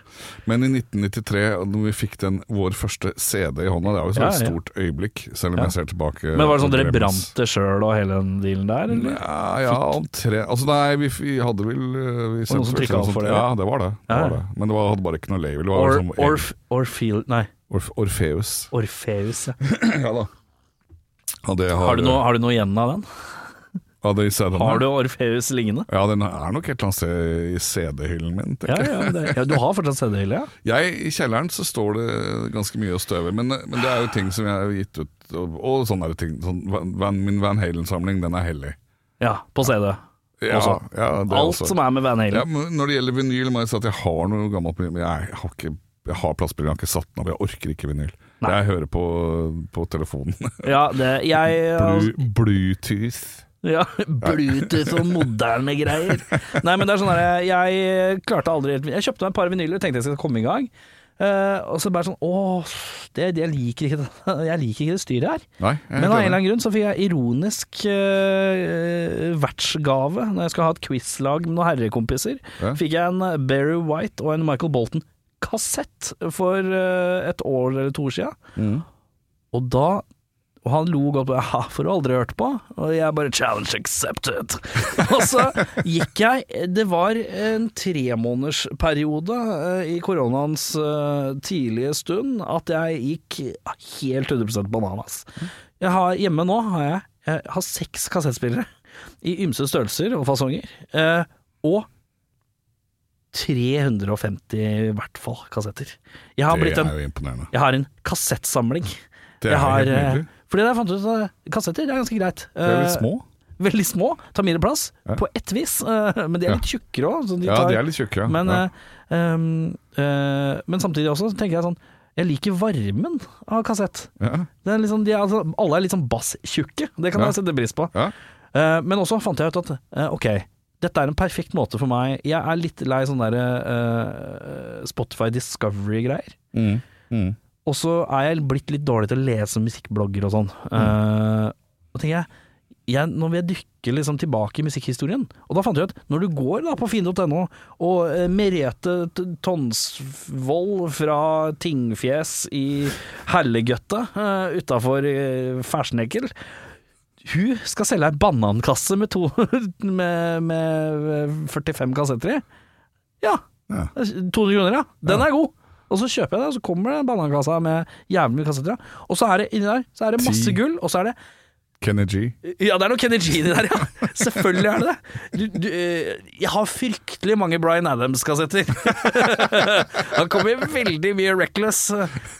Speaker 2: Men i 1993, når vi fikk den vår første CD i hånda, det var jo så
Speaker 1: Ja,
Speaker 2: et
Speaker 1: ja.
Speaker 2: stort øyeblikk, selv om
Speaker 1: Ja.
Speaker 2: jeg ser tilbake
Speaker 1: Men var det sånn dere
Speaker 2: og dremes.
Speaker 1: brant det sjøl og hele den dealen der, eller?
Speaker 2: Ja, ja omtrent Altså, nei, vi, vi hadde vel eh, vi
Speaker 1: som
Speaker 2: sendte vel
Speaker 1: trykket opp
Speaker 2: sånt-
Speaker 1: for det,
Speaker 2: Ja,
Speaker 1: ja.
Speaker 2: det var det. det,
Speaker 1: Ja.
Speaker 2: var det. Men det var, hadde bare ikke noe label. Det var
Speaker 1: Or,
Speaker 2: liksom,
Speaker 1: orf, Orfeel... Nei,
Speaker 2: Orf- Orfeus.
Speaker 1: Orfeus. Ja.
Speaker 2: Ja da. Ja, det har,
Speaker 1: Har, du noe, har du noe igjen av den?
Speaker 2: Ja, det i CD-en her.
Speaker 1: Har du Orfeus liggende?
Speaker 2: Ja, den er nok et eller annet sted i CD-hyllen min. tenker
Speaker 1: Ja, ja, men det, ja, du har fortsatt CD-hylle, ja?
Speaker 2: Jeg, I kjelleren så står det ganske mye og støver, men, men det er jo ting som jeg har gitt ut. Og, og sånne er det ting. Sånn, Van- Van, min Van Halen-samling, den er hellig.
Speaker 1: Ja, på CD.
Speaker 2: Ja,
Speaker 1: Også.
Speaker 2: ja, det
Speaker 1: Alt
Speaker 2: også.
Speaker 1: som er med Van
Speaker 2: ja,
Speaker 1: Halen.
Speaker 2: men Når det gjelder vinyl, må jeg si at jeg har noe gammelt vinyl, men jeg har, ikke, jeg har plassbilen, jeg har ikke satt den opp, jeg orker ikke vinyl.
Speaker 1: Nei.
Speaker 2: Jeg hører på, på telefonen.
Speaker 1: Ja, det Jeg altså,
Speaker 2: Blu- Bluetooth.
Speaker 1: ja, Bluetooth og moderne greier. Nei, men det er sånn der, jeg klarte aldri helt Jeg kjøpte meg et par vinyler, tenkte jeg skal komme i gang. Eh, og så bare sånn Å, det, jeg, liker ikke, det- jeg liker ikke det styret her.
Speaker 2: Nei, jeg er
Speaker 1: Men av en
Speaker 2: helt
Speaker 1: eller
Speaker 2: enig.
Speaker 1: annen grunn så fikk jeg ironisk eh, vertsgave når jeg skal ha et quizlag med noen herrekompiser.
Speaker 2: Ja.
Speaker 1: Fikk jeg en Barry White og en Michael Bolton-kassett for eh, et år eller to år siden.
Speaker 2: Mm.
Speaker 1: Og da og han lo godt på Haha, for du har aldri hørt på? Og jeg bare challenge accepted. og så gikk jeg Det var en tremånedersperiode eh, i koronaens eh, tidlige stund at jeg gikk helt 100 bananas. Jeg har, hjemme nå har jeg, jeg har seks kassettspillere i ymse størrelser og fasonger. eh, og 350 i hvert fall kassetter. Jeg har
Speaker 2: Det
Speaker 1: blitt en
Speaker 2: er jo imponerende.
Speaker 1: jeg har en kassettsamling.
Speaker 2: Det er
Speaker 1: jeg har,
Speaker 2: helt nydelig.
Speaker 1: eh, Fordi jeg fant ut at kassetter er ganske greit.
Speaker 2: De er litt
Speaker 1: Eh,
Speaker 2: små.
Speaker 1: veldig små, tar mindre plass,
Speaker 2: Ja.
Speaker 1: på ett vis. eh, men de er
Speaker 2: Ja.
Speaker 1: litt tjukkere òg. Så de
Speaker 2: Ja,
Speaker 1: tar,
Speaker 2: de er litt tjukke. Ja.
Speaker 1: men,
Speaker 2: ja.
Speaker 1: eh, um, eh, men samtidig også så tenker jeg sånn Jeg liker varmen av kassett.
Speaker 2: Ja.
Speaker 1: Det er liksom, de er, altså, alle er litt sånn basstjukke, det kan
Speaker 2: Ja.
Speaker 1: jeg sette pris på.
Speaker 2: Ja.
Speaker 1: Eh, men også fant jeg ut at eh, ok, dette er en perfekt måte for meg Jeg er litt lei sånn derre eh, Spotify Discovery-greier.
Speaker 2: Mm. Mm.
Speaker 1: Og så er jeg blitt litt dårlig til å lese musikkblogger og sånn.
Speaker 2: Mm.
Speaker 1: Eh, og tenker jeg, jeg, nå vil jeg dykke liksom tilbake i musikkhistorien. Og da fant jeg ut, når du går da på finn.no, og eh, Merete T- Tonsvold fra Tingfjes i Hellegøtta uh, utafor Fersnekel hun skal selge ei banankasse med, to, med, med 45 kassetter i. Ja.
Speaker 2: Ja.
Speaker 1: 200 kroner, ja. Den er god. Og så kjøper jeg det, og så kommer det en banankassa med jævlig mye kassetter. ja. Og så er det inni der så er det masse
Speaker 2: Ti.
Speaker 1: gull, og så er det
Speaker 2: Kenny G.
Speaker 1: Ja, det er noe Kenny G inni der, ja. Selvfølgelig er det det. Du, du, eh, jeg har fryktelig mange Bryan Adams-kassetter. Han kommer i veldig mye Reckless.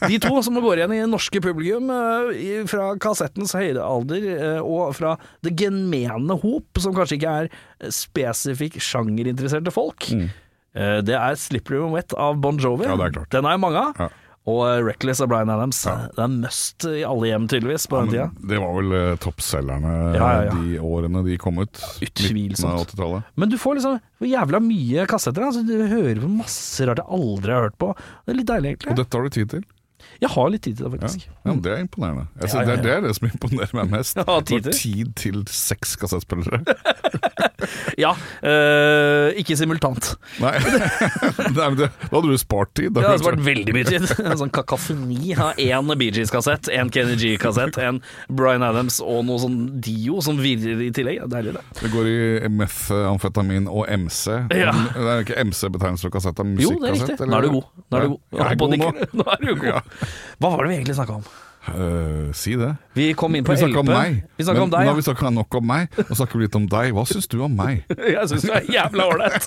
Speaker 1: De to som går igjen i norske publikum eh, i- fra kassettens høyde alder eh, og fra det gemene hop, som kanskje ikke er spesifikk sjangerinteresserte folk. Eh, Det er 'Slippery When Wet' av Bon Jovi.
Speaker 2: Mm. Ja, det er klart.
Speaker 1: Den er jo mange av.
Speaker 2: Ja.
Speaker 1: Og eh, 'Reckless' av Bryan Adams.
Speaker 2: Ja.
Speaker 1: Det er must i alle hjem, tydeligvis, på den tida.
Speaker 2: Men Det var vel eh, toppselgerne
Speaker 1: Ja, ja, ja.
Speaker 2: de årene de kom ut.
Speaker 1: Utvilsomt.
Speaker 2: midten av 80-tallet.
Speaker 1: Men du får liksom jævla mye kassetter. Altså, du hører på masse rart jeg aldri har hørt på. Det er litt deilig,
Speaker 2: Og
Speaker 1: egentlig.
Speaker 2: dette har du tid til.
Speaker 1: Jeg har litt tid til det,
Speaker 2: Ja,
Speaker 1: faktisk.
Speaker 2: ja men Det er imponerende. Jeg synes
Speaker 1: Ja, ja, ja.
Speaker 2: Det, er, det er det som imponerer meg mest.
Speaker 1: Ja, tid
Speaker 2: Du har tid til seks kassettspillere.
Speaker 1: Ja, øh, ikke simultant.
Speaker 2: Nei, Nei men det, Da hadde du spart tid.
Speaker 1: Det
Speaker 2: Da,
Speaker 1: hadde vært veldig mye tid. En sånn kakafoni av én Bee Gees-kassett, én Kenny G-kassett, en Bryan Adams og noe sånn Dio som virrer i tillegg. Det er Deilig, det.
Speaker 2: det går i methamfetamin og MC.
Speaker 1: Ja.
Speaker 2: Men Det er ikke MC-betegnelse for kassett, det er
Speaker 1: Jo, det er
Speaker 2: musikkassett.
Speaker 1: riktig. Nå er du god. Nå er du god.
Speaker 2: Ja, jeg er god nå.
Speaker 1: nå er du
Speaker 2: Ja.
Speaker 1: god. Hva var det vi egentlig snakka om?
Speaker 2: Eh, si det.
Speaker 1: Vi kom inn på
Speaker 2: Vi snakka om
Speaker 1: LP.
Speaker 2: meg.
Speaker 1: Vi snakka
Speaker 2: Men
Speaker 1: om deg.
Speaker 2: Nå
Speaker 1: ja.
Speaker 2: har vi snakka nok om meg, og snakker vi litt om deg. Hva syns du om meg?
Speaker 1: Jeg syns det er jævla ålreit.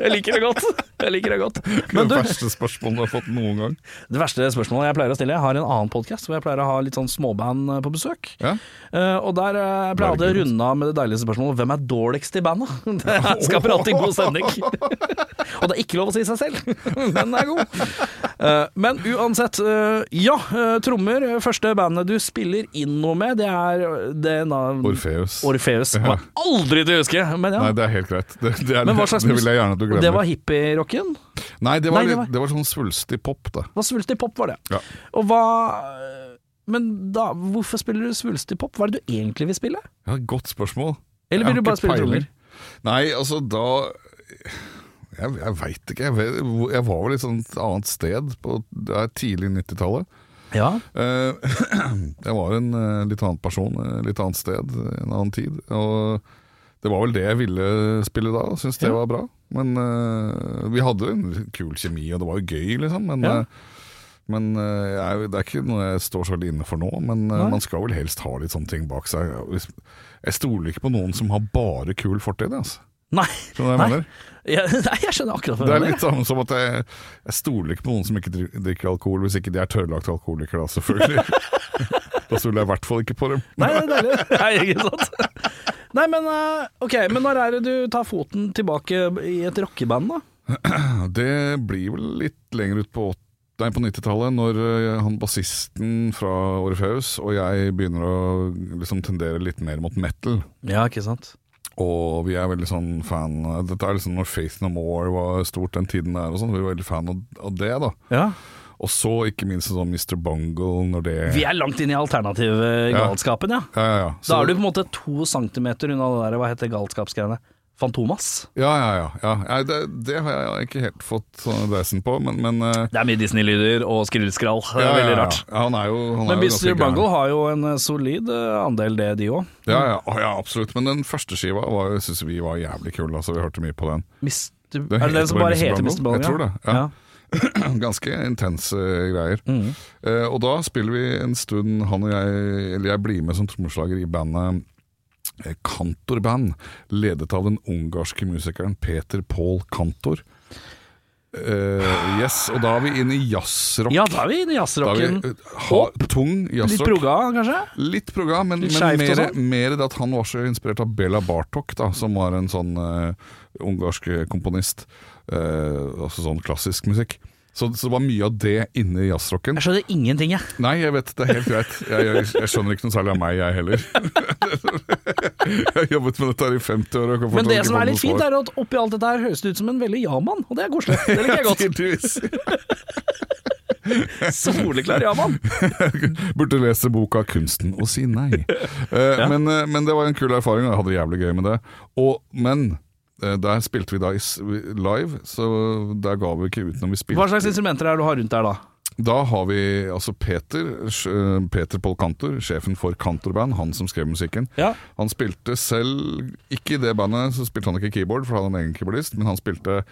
Speaker 1: Jeg liker det godt. Jeg liker det godt. Men du,
Speaker 2: det verste spørsmålet du har fått noen gang.
Speaker 1: det verste spørsmålet jeg pleier å stille Jeg har en annen podkast hvor jeg pleier å ha litt sånn småband eh, på besøk.
Speaker 2: Ja.
Speaker 1: Eh, og der eh, pleier jeg å
Speaker 2: Bergen.
Speaker 1: runde av med det deilige spørsmålet Hvem er dårligst i bandet? Det skaper alltid god stemning. og det er ikke lov å si seg selv. Den er god. Eh, men uansett, eh, ja. eh, trommer. Første bandet du spiller inn noe med, det er eh, det nav-
Speaker 2: Orfeus.
Speaker 1: Orfeus. Kommer jeg aldri til å huske, men ja.
Speaker 2: Nei, det er helt greit. Det, det, er,
Speaker 1: Men hva slags
Speaker 2: det vil jeg gjerne at du
Speaker 1: Og
Speaker 2: glemmer.
Speaker 1: det var hippierocken?
Speaker 2: Nei, det var,
Speaker 1: Nei, det
Speaker 2: litt-
Speaker 1: var-
Speaker 2: det var sånn svulstig pop, da.
Speaker 1: Hva svulstig pop var det?
Speaker 2: Ja.
Speaker 1: Og hva Men da, hvorfor spiller du svulstig pop? Hva er det du egentlig vil spille?
Speaker 2: Ja, godt spørsmål.
Speaker 1: Eller
Speaker 2: Jeg
Speaker 1: vil
Speaker 2: har
Speaker 1: du bare
Speaker 2: ikke
Speaker 1: spille
Speaker 2: peiling.
Speaker 1: trommer?
Speaker 2: Nei, altså da Jeg, jeg veit ikke. Jeg, vet, hvor- jeg var vel et sånt annet sted på det er tidlig 90-tallet.
Speaker 1: Ja.
Speaker 2: Eh, jeg var en eh, litt annen person, eh, litt annet sted, en annen tid. Og det var vel det jeg ville spille da, og syntes det
Speaker 1: Ja.
Speaker 2: var bra. Men eh, vi hadde en kul kjemi, og det var jo gøy, liksom. Men,
Speaker 1: Ja.
Speaker 2: eh, men eh, jeg, det er ikke noe jeg står så veldig inne for nå. Men eh,
Speaker 1: Nei.
Speaker 2: man skal vel helst ha litt sånne ting bak seg. Hvis- Jeg stoler ikke på noen som har bare kul fortid. Altså.
Speaker 1: Nei.
Speaker 2: Skjønner du hva
Speaker 1: Nei.
Speaker 2: jeg mener?
Speaker 1: Ja, nei, jeg skjønner akkurat hva
Speaker 2: Det
Speaker 1: du
Speaker 2: er
Speaker 1: mener.
Speaker 2: litt samme som at jeg, jeg stoler ikke på noen som ikke dri- drikker alkohol, hvis ikke de er tørrlagt alkoholikere, da, selvfølgelig. da stoler jeg i hvert fall ikke på dem.
Speaker 1: Nei, det er deilig. Nei, ikke sant? Nei, men eh, ok, men når er det du tar foten tilbake i et rockeband, da?
Speaker 2: Det blir vel litt lenger ut på, åt- nei, på 90-tallet, når eh, han bassisten fra Orfeus og jeg begynner å liksom tendere litt mer mot metal.
Speaker 1: Ja, ikke sant?
Speaker 2: Og vi er veldig sånn fan Dette er liksom når Faith No More var stort den tiden der og sånn. Vi var veldig fan av, av det, da.
Speaker 1: Ja.
Speaker 2: Og så ikke minst sånn Mr. Bungle når det
Speaker 1: Vi er langt inn i alternativgalskapen, ja.
Speaker 2: Ja, ja, ja.
Speaker 1: Da
Speaker 2: Så-
Speaker 1: er du på en måte to centimeter unna det der, hva heter galskapsgreiene? Fantomas?
Speaker 2: Ja, ja, ja. ja. Nei, det, det har jeg ikke helt fått sånn dreisen på, men, men eh,
Speaker 1: Det er mye Disney-lyder og skrillskrall. Det er
Speaker 2: ja,
Speaker 1: veldig
Speaker 2: ja,
Speaker 1: rart.
Speaker 2: Ja, han er jo, han
Speaker 1: Men
Speaker 2: er jo
Speaker 1: Mr.
Speaker 2: ganske
Speaker 1: Bungle
Speaker 2: gæren.
Speaker 1: har jo en eh, solid eh, andel, det de òg.
Speaker 2: Ja, ja, Å, ja, absolutt. Men den første skiva var- syns vi var jævlig kul. Altså, vi hørte mye på den.
Speaker 1: Er
Speaker 2: Den
Speaker 1: det den som bare heter Mr. Bungle?
Speaker 2: Jeg tror det. Ja.
Speaker 1: Ja.
Speaker 2: Ganske intense greier.
Speaker 1: Mhm.
Speaker 2: Eh, og da spiller vi en stund, han og jeg, eller jeg blir med som trommeslager i bandet eh, Kantorband, ledet av den ungarske musikeren Peter Paul Kantor. Eh, yes, og da er vi inne i jazzrock.
Speaker 1: ja, da er vi inne i
Speaker 2: Da er
Speaker 1: jazzrocken.
Speaker 2: vi, eh, ha, tung
Speaker 1: Litt
Speaker 2: jazzrock.
Speaker 1: proga, kanskje?
Speaker 2: Litt proga, men,
Speaker 1: Litt
Speaker 2: men
Speaker 1: skeivt og
Speaker 2: mer,
Speaker 1: sånn.
Speaker 2: mer det at han var så inspirert av Bela Bartok, da, som var en sånn eh, ungarsk komponist. eh, altså sånn klassisk musikk. Så, så det var mye av det inne i jazzrocken.
Speaker 1: Jeg skjønner ingenting, jeg.
Speaker 2: Nei, jeg vet, det er helt greit. Jeg, jeg, jeg skjønner ikke noe særlig av meg, jeg heller. jeg har jobbet med dette her i 50 år. Og kan
Speaker 1: Men
Speaker 2: fortsatt
Speaker 1: det
Speaker 2: ikke
Speaker 1: som er
Speaker 2: få noe
Speaker 1: litt fint,
Speaker 2: svar.
Speaker 1: er at oppi alt dette her høres det ut som en veldig ja-mann, og det er koselig. Det liker jeg godt.
Speaker 2: Tydeligvis.
Speaker 1: Soleklar ja-mann.
Speaker 2: Burde lese boka 'Kunsten å si nei'. Eh, men, eh, men det var en kul erfaring, og jeg hadde det jævlig gøy med det. Og, men eh, der spilte vi da i s- live, så der ga vi ikke ut når vi spilte.
Speaker 1: Hva slags instrumenter er det du har rundt der, da?
Speaker 2: Da har vi altså Peter, sj- eh, Peter Paul Kantor, sjefen for Kantorband, han som skrev musikken.
Speaker 1: Ja.
Speaker 2: Han spilte selv, ikke i det bandet, så spilte han ikke keyboard, for han hadde en egen keyboardist, men han spilte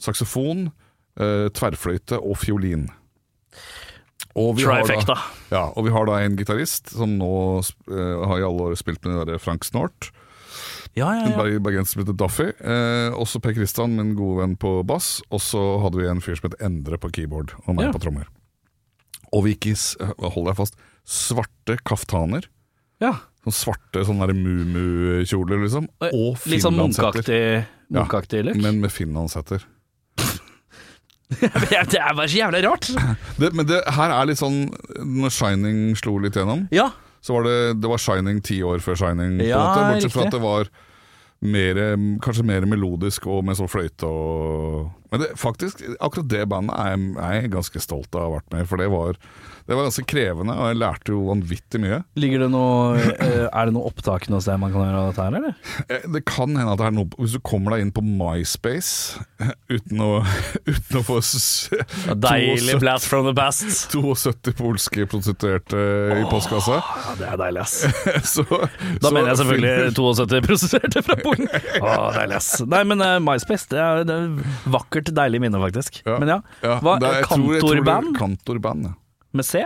Speaker 2: saksofon, eh, tverrfløyte og fiolin. Og vi har da-
Speaker 1: Trifecta.
Speaker 2: Ja, og vi har da en gitarist som nå eh, har i alle år spilt med den der Frank Snort,
Speaker 1: Ja, ja,
Speaker 2: en
Speaker 1: ja.
Speaker 2: ber- bergenser som heter Daffy. Eh, også Per Christian, min gode venn på bass. Og så hadde vi en fyr som het Endre på keyboard, og meg
Speaker 1: Ja.
Speaker 2: på trommer. Og vi gikk i, s- eh, hold deg fast, svarte kaftaner.
Speaker 1: ja.
Speaker 2: Sånne svarte sånne der mumu-kjoler, liksom. Og
Speaker 1: Litt sånn
Speaker 2: finlandshetter.
Speaker 1: munkaktig
Speaker 2: Ja.
Speaker 1: munkaktig look.
Speaker 2: Men med finlandshetter.
Speaker 1: det er bare så jævlig rart.
Speaker 2: Det, men det her er litt sånn Når Shining slo litt gjennom,
Speaker 1: Ja.
Speaker 2: så var det, det var Shining ti år før Shining. på
Speaker 1: Ja,
Speaker 2: en måte, bortsett fra
Speaker 1: riktig.
Speaker 2: at det var mere, kanskje mer melodisk og med sånn fløyte og Men det, faktisk, akkurat det bandet er jeg, er jeg ganske stolt av å ha vært med, for det var, det var ganske krevende, og jeg lærte jo vanvittig mye.
Speaker 1: Ligger det noe eh, Er det noe opptak noe sted man kan gjøre av dette her, eller?
Speaker 2: Eh, Det kan hende at det er noe Hvis du kommer deg inn på MySpace eh, uten å, uten å få s-
Speaker 3: Deilig
Speaker 2: 72
Speaker 3: blast from the past.
Speaker 2: 72 polske prostituerte i postkassa,
Speaker 1: Ja, det er deilig, ass.
Speaker 2: så
Speaker 1: Da mener jeg selvfølgelig 72 prostituerte fra Polen. Å, deilig, ass. Nei, men eh, MySpace, det er, det er vakkert, deilig minne, faktisk. Men ja. Hva, kantorband
Speaker 2: Kantorband, ja.
Speaker 1: med C?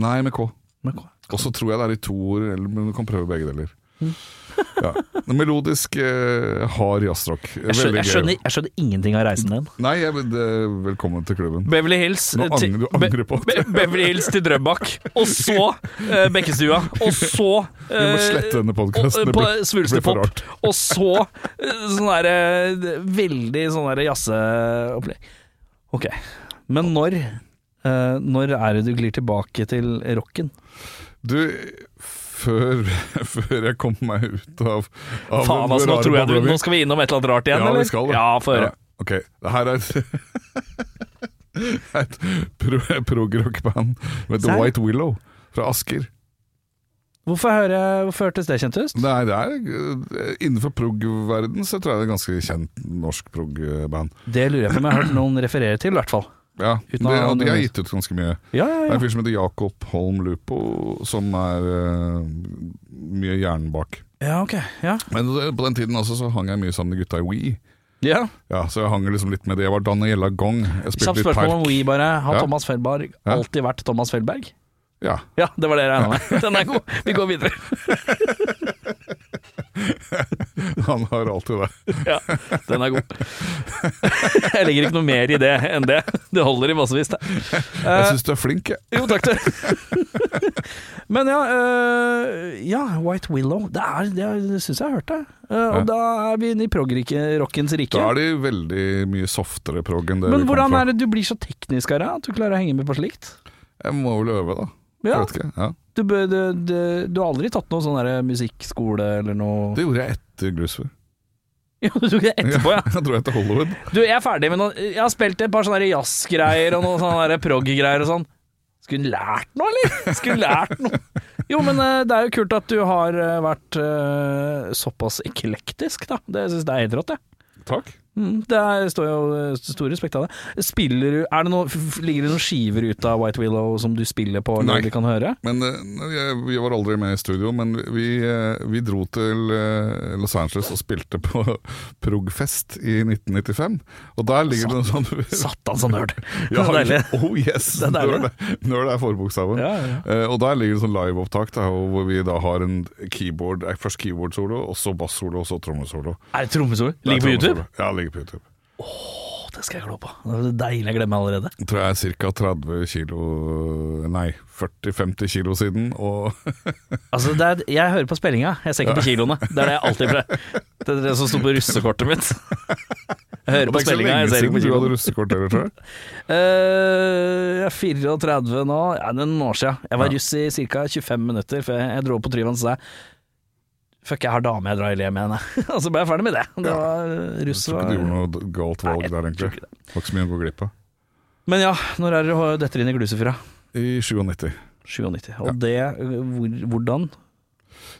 Speaker 2: Nei, med K.
Speaker 1: Med K.
Speaker 2: Og så tror jeg det er i to ord, eller, men du kan prøve begge deler.
Speaker 1: Mm.
Speaker 2: Ja. Melodisk eh, hard jazzrock.
Speaker 1: Jeg skjønner,
Speaker 2: Veldig
Speaker 1: jeg,
Speaker 2: gøy.
Speaker 1: skjønner, jeg skjønner ingenting av reisen din.
Speaker 2: Nei, jeg, det- velkommen til klubben.
Speaker 1: Beverly Hills
Speaker 2: Nå
Speaker 1: til-
Speaker 2: angrer du angrer på
Speaker 1: Be
Speaker 2: det.
Speaker 1: Beverly Hills til Drøbak, og så eh, Bekkestua, og så
Speaker 2: Vi
Speaker 1: eh,
Speaker 2: må slette denne podcasten, det blir- blir for
Speaker 1: Svulstepop,
Speaker 2: rart.
Speaker 1: eh, og så eh, sånn derre Veldig sånn derre jazzeopplegg. Ok, men når eh, Når er det du glir tilbake til rocken?
Speaker 2: Du, før, før jeg kom meg ut av, av
Speaker 1: Faen, altså, nå
Speaker 2: rare
Speaker 1: tror jeg du
Speaker 2: bobla mi-
Speaker 1: Nå skal vi innom et eller annet rart igjen,
Speaker 2: Ja, vi
Speaker 1: eller?
Speaker 2: skal det.
Speaker 1: Ja, få høre.
Speaker 2: Ja, ok, det her er et, et pro- prog-rock-band med The
Speaker 1: Serr?
Speaker 2: White Willow fra Asker.
Speaker 1: Hvorfor, hører- hvorfor hørtes det kjent ut?
Speaker 2: Nei, det er eh, Innenfor prog-verden så tror jeg det er ganske kjent norsk prog-band.
Speaker 1: Det lurer jeg på om jeg har hørt noen referere til, i hvert fall.
Speaker 2: Ja, det,
Speaker 1: Uten å-
Speaker 2: og de har gitt ut ganske mye.
Speaker 1: Ja,
Speaker 2: Det
Speaker 1: ja,
Speaker 2: er
Speaker 1: ja.
Speaker 2: en fyr som heter Jakob Holm Lupo, som er eh, mye hjernen bak.
Speaker 1: ja ok. Ja.
Speaker 2: Men det- på den tiden også så hang jeg mye sammen med gutta i We.
Speaker 1: ja.
Speaker 2: Ja, så jeg hang liksom litt med det. Jeg var Daniela Gong.
Speaker 1: Kjapt
Speaker 2: Jeg spilte litt
Speaker 1: spørsmål
Speaker 2: park.
Speaker 1: om We, bare. Har
Speaker 2: Ja.
Speaker 1: Thomas Feldberg
Speaker 2: Ja.
Speaker 1: alltid vært Thomas Feldberg?
Speaker 2: Ja.
Speaker 1: Ja, det var det jeg regna med. Den er god. Vi går videre.
Speaker 2: Han har alltid det.
Speaker 3: Ja, den er god. Jeg legger ikke noe mer i det enn det. Det holder i massevis, det.
Speaker 1: Eh,
Speaker 2: Jeg syns du er flink, jeg.
Speaker 1: Jo, takk du. Men ja, øh, ja, White Willow. Det, er, det, er- det syns jeg jeg hørte. Eh, og
Speaker 2: Ja.
Speaker 1: da er vi inne i prog-rockens rike.
Speaker 2: Da er de veldig mye softere prog enn det
Speaker 1: Men hvordan
Speaker 2: fra.
Speaker 1: er det du blir så teknisk her, at du klarer å henge med på slikt?
Speaker 2: Jeg må vel øve, da.
Speaker 1: Ja,
Speaker 2: Jeg vet ikke. Ja.
Speaker 1: du, bør- du, du, du har aldri tatt noe sånn der musikkskole eller noe
Speaker 2: Det gjorde jeg etter Glusfjord.
Speaker 1: Jo, du tok det etterpå, ja.
Speaker 2: Jeg dro jeg til Hollywood.
Speaker 1: Du, jeg er ferdig med noe Jeg har spilt et par sånne der jazzgreier og noen sånne der prog-greier og sånn. Skulle hun lært noe, eller? Skulle hun lært noe? Jo, men eh, det er jo kult at du har eh, vært eh, såpass eklektisk, da. Det syns jeg er helt rått, jeg.
Speaker 2: Takk.
Speaker 1: Mm, det er, står jo eh, stor respekt av det. Spiller du er det noe, f- Ligger det noen skiver ut av White Willow som du spiller på,
Speaker 2: Nei.
Speaker 1: eller vi kan høre?
Speaker 2: Men eh, jeg, Vi var aldri med i studio, men vi, eh, vi dro til eh, Los Angeles og spilte på Progfest i 1995. Og der ligger det noe sånn
Speaker 1: Satan, så nerd. det
Speaker 2: Ja,
Speaker 1: er deilig.
Speaker 2: Oh yes!
Speaker 1: Det er deilig.
Speaker 2: Nerd er- Nerd er forbokstaven.
Speaker 1: Ja, ja.
Speaker 2: Eh, og der ligger det sånn liveopptak da, hvor vi da har en keyboard, eh, først keyboard-solo, og så bass-solo, og så trommesolo.
Speaker 1: Er det trommesolo?
Speaker 2: Det er
Speaker 1: Ligger på YouTube?
Speaker 2: trommesolo. Ja, ligger på YouTube.
Speaker 1: Å, det skal jeg glo på. Det er deilig jeg glemmer allerede.
Speaker 2: Jeg tror jeg er ca. 30 kilo Nei, 40-50 kilo siden. Og
Speaker 1: Altså, det er, jeg hører på spillinga, jeg ser ikke på kiloene. Det er det jeg alltid pleier. Det er det som sto på russekortet mitt. Jeg hører
Speaker 2: Og
Speaker 1: på
Speaker 2: det er ikke så
Speaker 1: spillinga,
Speaker 2: lenge
Speaker 1: jeg ser
Speaker 2: siden
Speaker 1: ikke på
Speaker 2: du hadde
Speaker 1: kiloene.
Speaker 2: russekort heller, tror jeg.
Speaker 1: Eh, jeg er 34 nå, ja, det er noen år siden. Jeg var russ i ca. 25 minutter før jeg, jeg dro på Tryvann og sa jeg, Fuck, jeg har dame jeg drar i le med henne. og så ble jeg ferdig med det. Det var
Speaker 2: Jeg
Speaker 1: russ
Speaker 2: tror ikke
Speaker 1: var
Speaker 2: du gjorde noe d- galt valg
Speaker 1: Nei, jeg
Speaker 2: der,
Speaker 1: tror
Speaker 2: egentlig.
Speaker 1: ikke det.
Speaker 2: Det var ikke så mye å gå glipp av.
Speaker 1: Men ja, når er det du detter inn i glusefyra?
Speaker 2: I 97.
Speaker 1: 97. Og det eh, hvor, Hvordan?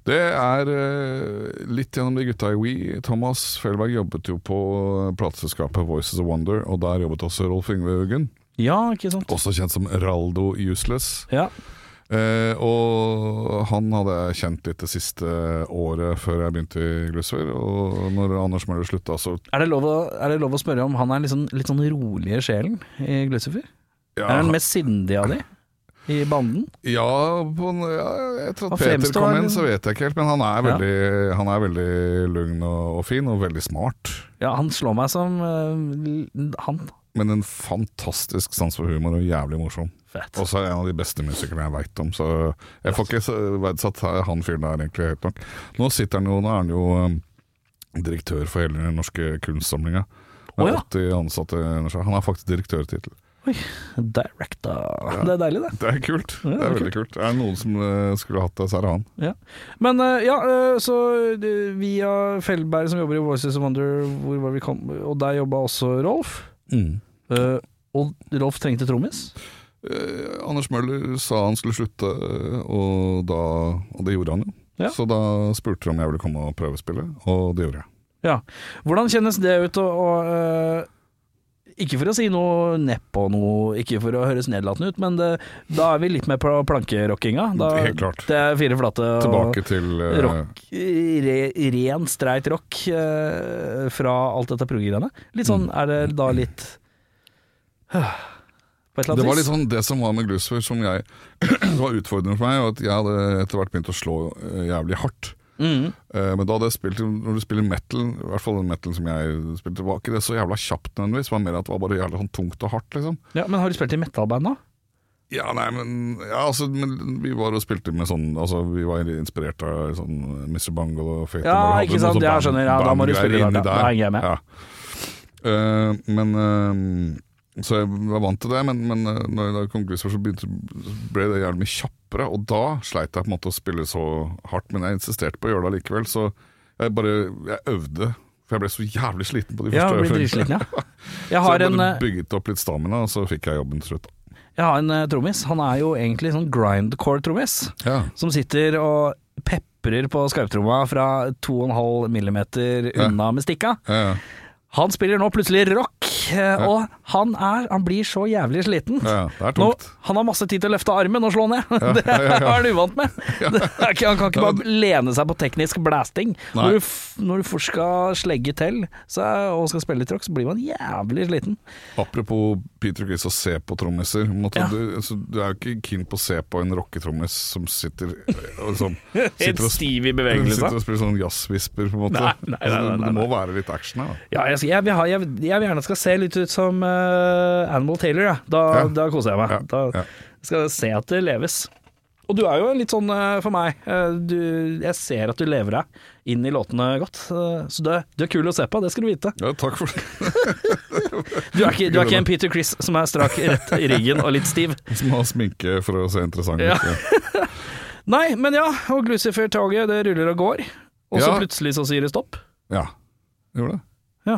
Speaker 2: Det er eh, litt gjennom de gutta i We. Thomas Felberg jobbet jo på eh, plateselskapet Voices of Wonder, og der jobbet også Rolf Yngve Haugen.
Speaker 1: Ja, ikke sant?
Speaker 2: Også kjent som Raldo Useless.
Speaker 1: Ja.
Speaker 2: Eh, og han hadde jeg kjent litt det siste året før jeg begynte i Glusser. Og når Anders Møller slutta, så
Speaker 1: Er det, lov å, er det lov å spørre om han er liksom, litt sånn rolig i sjelen i Glucifer?
Speaker 2: ja,
Speaker 1: Er han den mest sindige av de i banden?
Speaker 2: ja, på, en- ja, etter
Speaker 1: Han
Speaker 2: at Peter
Speaker 1: fremstår-
Speaker 2: kom inn, så vet jeg ikke helt. Men han er
Speaker 1: Ja.
Speaker 2: veldig, han er veldig lugn og, og fin, og veldig smart.
Speaker 1: Ja, han slår meg som eh, han.
Speaker 2: Men en fantastisk sans for humor og jævlig morsom.
Speaker 1: Fett.
Speaker 2: Og så er jeg en av de beste musikerne jeg veit om, så jeg får ikke så- verdsatt han fyren der egentlig høyt nok. Nå sitter han jo, nå er han jo eh, direktør for hele den norske kunstsamlinga. Han
Speaker 1: Å
Speaker 2: har
Speaker 1: ja.
Speaker 2: 80 ansatte under seg. Han har faktisk direktørtittel.
Speaker 1: Directa. Det er deilig, det.
Speaker 2: Det er kult.
Speaker 1: Ja,
Speaker 2: det er veldig kult. Er det noen som eh, skulle hatt det, så er det han.
Speaker 1: Ja. Men eh, ja, eh, så eh, via Feldberg som jobber i Voices of Wonder, hvor var vi kom, og der jobba også Rolf. Eh, og Rolf trengte trommis.
Speaker 2: Eh, Anders Møller sa han skulle slutte, eh, og, da, og det gjorde han jo.
Speaker 1: Ja.
Speaker 2: Så da spurte de om jeg ville komme og prøvespille, og det gjorde jeg.
Speaker 1: Ja. Hvordan kjennes det ut å å, eh, Ikke for å si noe nedpå noe, ikke for å høres nedlatende ut, men det, da er vi litt med på plankerockinga. Da-
Speaker 2: Helt klart.
Speaker 1: Det er fire flate og
Speaker 2: Tilbake til eh,
Speaker 1: rock, re, ren, streit rock eh, fra alt dette prog-greiene. Litt sånn
Speaker 2: Mm.
Speaker 1: er det da litt På et eller annet
Speaker 2: Det var
Speaker 1: vis.
Speaker 2: litt sånn det som var med Glusfer som jeg det var utfordrende for meg, og at jeg hadde etter hvert begynt å slå eh, jævlig hardt.
Speaker 1: Mhm.
Speaker 2: Eh, Men da hadde jeg spilt, når du spiller metal, i hvert fall den metal som jeg spilte, var ikke det så jævla kjapt nødvendigvis. Det var mer at det var bare jævlig sånn tungt og hardt, liksom.
Speaker 1: ja, men har du spilt i metal-band nå?
Speaker 2: Ja, nei, men, ja, altså, men vi var og spilte med sånn Altså, vi var inspirert av sånn Mr. Bungle og Fate
Speaker 1: Ja,
Speaker 2: More, hadde
Speaker 1: ikke
Speaker 2: noe
Speaker 1: sant,
Speaker 2: sånn
Speaker 1: jeg skjønner, ja, da må du
Speaker 2: bandgreier
Speaker 1: spille
Speaker 2: inni
Speaker 1: der, da- da henger jeg med.
Speaker 2: Ja. Eh, men eh, Så jeg var vant til det, men, men eh, når da kom Grisfjord, så begynte, så ble det jævlig mye kjappere. Og da sleit jeg på en måte å spille så hardt, men jeg insisterte på å gjøre det allikevel. Så jeg bare jeg øvde, for jeg ble så jævlig sliten på de
Speaker 1: Ja,
Speaker 2: første
Speaker 1: blir
Speaker 2: øvelsene.
Speaker 1: dritsliten, ja. Jeg
Speaker 2: Så
Speaker 1: har
Speaker 2: jeg
Speaker 1: en,
Speaker 2: bare
Speaker 1: eh,
Speaker 2: bygget opp litt stamina, og så fikk jeg jobben til slutt.
Speaker 1: jeg har en eh, trommis. Han er jo egentlig sånn grindcore-trommis.
Speaker 2: Ja.
Speaker 1: Som sitter og peprer på skarptromma fra 2,5 millimeter unna med stikka.
Speaker 2: Ja, ja.
Speaker 1: Han spiller nå plutselig rock, eh, og han er Han blir så jævlig sliten.
Speaker 2: Ja, det er
Speaker 1: Nå,
Speaker 2: tungt.
Speaker 1: han har masse tid til å løfte armen og slå ned. Det er han uvant med. Det er ikke, han kan ikke bare lene seg på teknisk blasting.
Speaker 2: Nei.
Speaker 1: Når du, f- når du først skal slegge til så, er- og skal spille litt rock, så blir man jævlig sliten.
Speaker 2: Apropos Peter Chris og se på trommiser. Måtte
Speaker 1: Ja.
Speaker 2: Du, altså, du er jo ikke keen på å se på en rocketrommis som sitter og liksom,
Speaker 3: Helt
Speaker 2: sitter og, sp-
Speaker 3: stiv i
Speaker 2: sitter
Speaker 3: bevegelse.
Speaker 2: og spiller sånn jazzvisper, på en måte.
Speaker 3: Nei, nei, nei,
Speaker 2: Altså, det-
Speaker 3: nei,
Speaker 2: Det
Speaker 3: nei.
Speaker 2: må være litt action her, da.
Speaker 1: Ja, jeg, skal- jeg, vil ha, jeg, vil- jeg vil gjerne skal se litt ut som eh, Animal Taylor, ja. da,
Speaker 2: Ja.
Speaker 1: da koser jeg meg.
Speaker 2: Ja,
Speaker 1: Da
Speaker 2: ja.
Speaker 1: skal jeg se at det leves. Og du er jo litt sånn eh, for meg, eh, du, jeg ser at du lever deg inn i låtene godt. eh, Så du, er- du er kul å se på, det skal du vite.
Speaker 2: Ja, takk for det.
Speaker 1: Du er ikke, du er ikke en Peter Chris som er strak rett i ryggen og litt stiv.
Speaker 2: Som har sminke for å se interessant ut.
Speaker 1: Ja.
Speaker 2: Ja.
Speaker 1: Nei, men ja, og Glucifer-toget det ruller og går, og så
Speaker 2: Ja.
Speaker 1: plutselig så sier det stopp.
Speaker 2: ja. Gjorde det.
Speaker 1: Ja.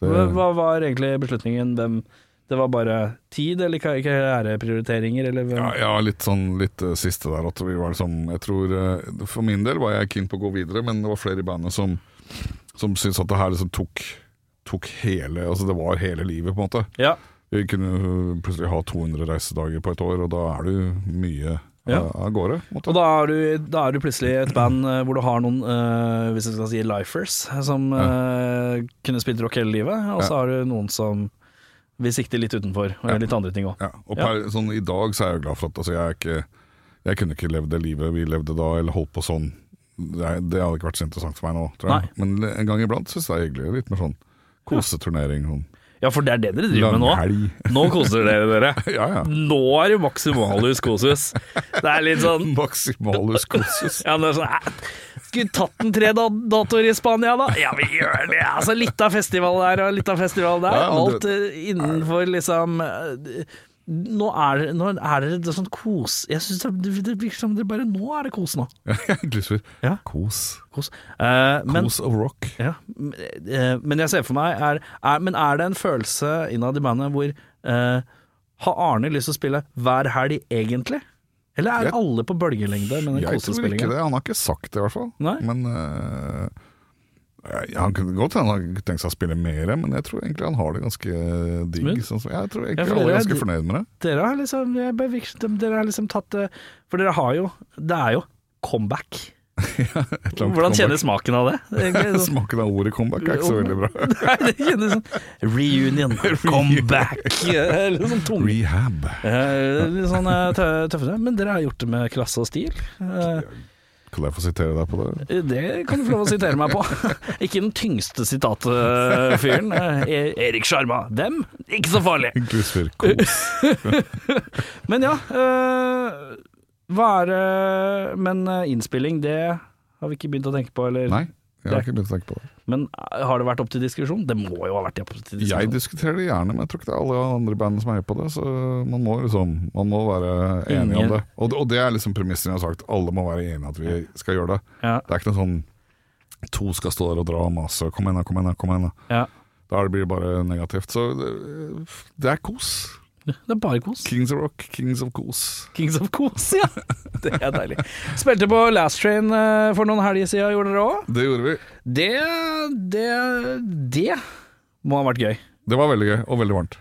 Speaker 2: Det-
Speaker 1: Hva var egentlig beslutningen? Hvem, det var bare tid, eller hva- ikke æreprioriteringer, eller hvem?
Speaker 2: Ja, ja, litt sånn litt eh, siste der. At vi var liksom, jeg tror, eh, for min del var jeg keen på å gå videre, men det var flere i bandet som, som syntes at det her liksom tok, tok hele Altså det var hele livet, på en måte.
Speaker 1: Ja.
Speaker 2: Vi kunne jo plutselig ha 200 reisedager på et år, og da er det jo mye
Speaker 1: Ja.
Speaker 2: eh, av gårde. på en måte.
Speaker 1: Og da er, du, da er du plutselig et band eh, hvor du har noen, eh, hvis jeg skal si lifers, som eh, kunne spilt rock hele livet, og så har du noen som vil sikte litt utenfor, og
Speaker 2: Ja.
Speaker 1: litt andre ting òg.
Speaker 2: Ja, og per, sånn, I dag så er jeg jo glad for at altså, jeg, er ikke, jeg kunne ikke levd det livet vi levde da, eller holdt på sånn. Det, er- det hadde ikke vært så interessant for meg nå, tror jeg. Men en gang iblant syns jeg det er hyggelig. Litt mer sånn koseturnering. Sånn.
Speaker 1: Ja, for det er det dere driver med nå.
Speaker 2: Langhelg.
Speaker 3: Nå koser dere dere.
Speaker 2: Ja, ja.
Speaker 3: Nå er det maksimalhus kosus. Det er litt sånn
Speaker 2: Maximalus kosus.
Speaker 3: ja, det er sånn, æ,
Speaker 1: Skulle tatt en tre da- datoer i Spania, da. Ja, vi gjør det. Altså, litt av festival der og litt av festival der.
Speaker 2: Ja, men
Speaker 1: Alt
Speaker 2: det-
Speaker 1: eh, innenfor liksom eh, Nå er, det- nå er det et sånt kos... Jeg synes det, det virker som det bare Nå er det kos nå.
Speaker 2: Glysfyr.
Speaker 1: Ja.
Speaker 2: Kos.
Speaker 1: Kos. Eh, men,
Speaker 2: Kos of rock.
Speaker 1: ja, m- eh, men jeg ser for meg er, er, Men er det en følelse innad i bandet hvor eh, Har Arne lyst til å spille hver helg, egentlig? Eller er
Speaker 2: Jeg-
Speaker 1: alle på bølgelengde med den
Speaker 2: Jeg tror ikke
Speaker 1: kosespillingen?
Speaker 2: det. Han har ikke sagt det, i hvert fall.
Speaker 1: Nei.
Speaker 2: Men øh, ja, Han kunne godt hende han har tenkt seg å spille mer, men jeg tror egentlig han har det ganske digg.
Speaker 1: Smooth?
Speaker 2: Sånn, som- jeg tror egentlig
Speaker 1: Ja, for
Speaker 2: alle er
Speaker 1: det er-
Speaker 2: ganske fornøyd med det.
Speaker 1: Dere har liksom, jeg bare virker som dere har liksom tatt eh, For dere har jo Det er jo comeback.
Speaker 2: Et eller annet
Speaker 1: Hvordan
Speaker 2: comeback.
Speaker 1: kjenner smaken av det? Egentlig sånn-
Speaker 2: Smaken av ordet comeback er ikke så veldig bra.
Speaker 1: Nei, det kjennes sånn Reunion, comeback eh, Litt sånn tung eh,
Speaker 2: Rehab.
Speaker 1: Litt sånn eh, tø tøffere. Men dere har gjort det med klasse og stil. Eh,
Speaker 2: Kan jeg få sitere deg på det?
Speaker 1: Det kan du få lov å sitere meg på. Ikke den tyngste sitatfyren. Eh, Erik Sjarma. Dem? Ikke så farlig.
Speaker 2: Glysfyr kos.
Speaker 1: Men ja, øh, hva er øh, Men øh, innspilling, det har vi ikke begynt å tenke på, eller?
Speaker 2: Nei, jeg har ikke begynt å tenke på det.
Speaker 1: Men øh, har det vært opp til diskusjon? Det må jo ha vært opp til
Speaker 2: Jeg
Speaker 1: diskusjon.
Speaker 2: diskuterer det gjerne, men jeg tror ikke det er alle andre band som er med på det. Så man må liksom Man må være enig
Speaker 1: Ingen-
Speaker 2: om det. Og, det- og det er liksom premissen jeg har sagt. Alle må være enige at vi skal gjøre det.
Speaker 1: Ja,
Speaker 2: Det er ikke noe sånn to skal stå der og dra og mase og kom igjen, da, kom igjen, da, kom igjen. da.
Speaker 1: ja.
Speaker 2: Da blir det bare negativt. Så det, det er kos.
Speaker 1: Det er bare kos.
Speaker 2: Kings of rock, kings of kos.
Speaker 1: Kings of Kos, ja. Det er deilig. Spilte på Last Train øh, for noen helger siden, gjorde dere òg.
Speaker 2: Det gjorde vi.
Speaker 1: Det, det Det må ha vært gøy.
Speaker 2: Det var veldig gøy, og veldig varmt.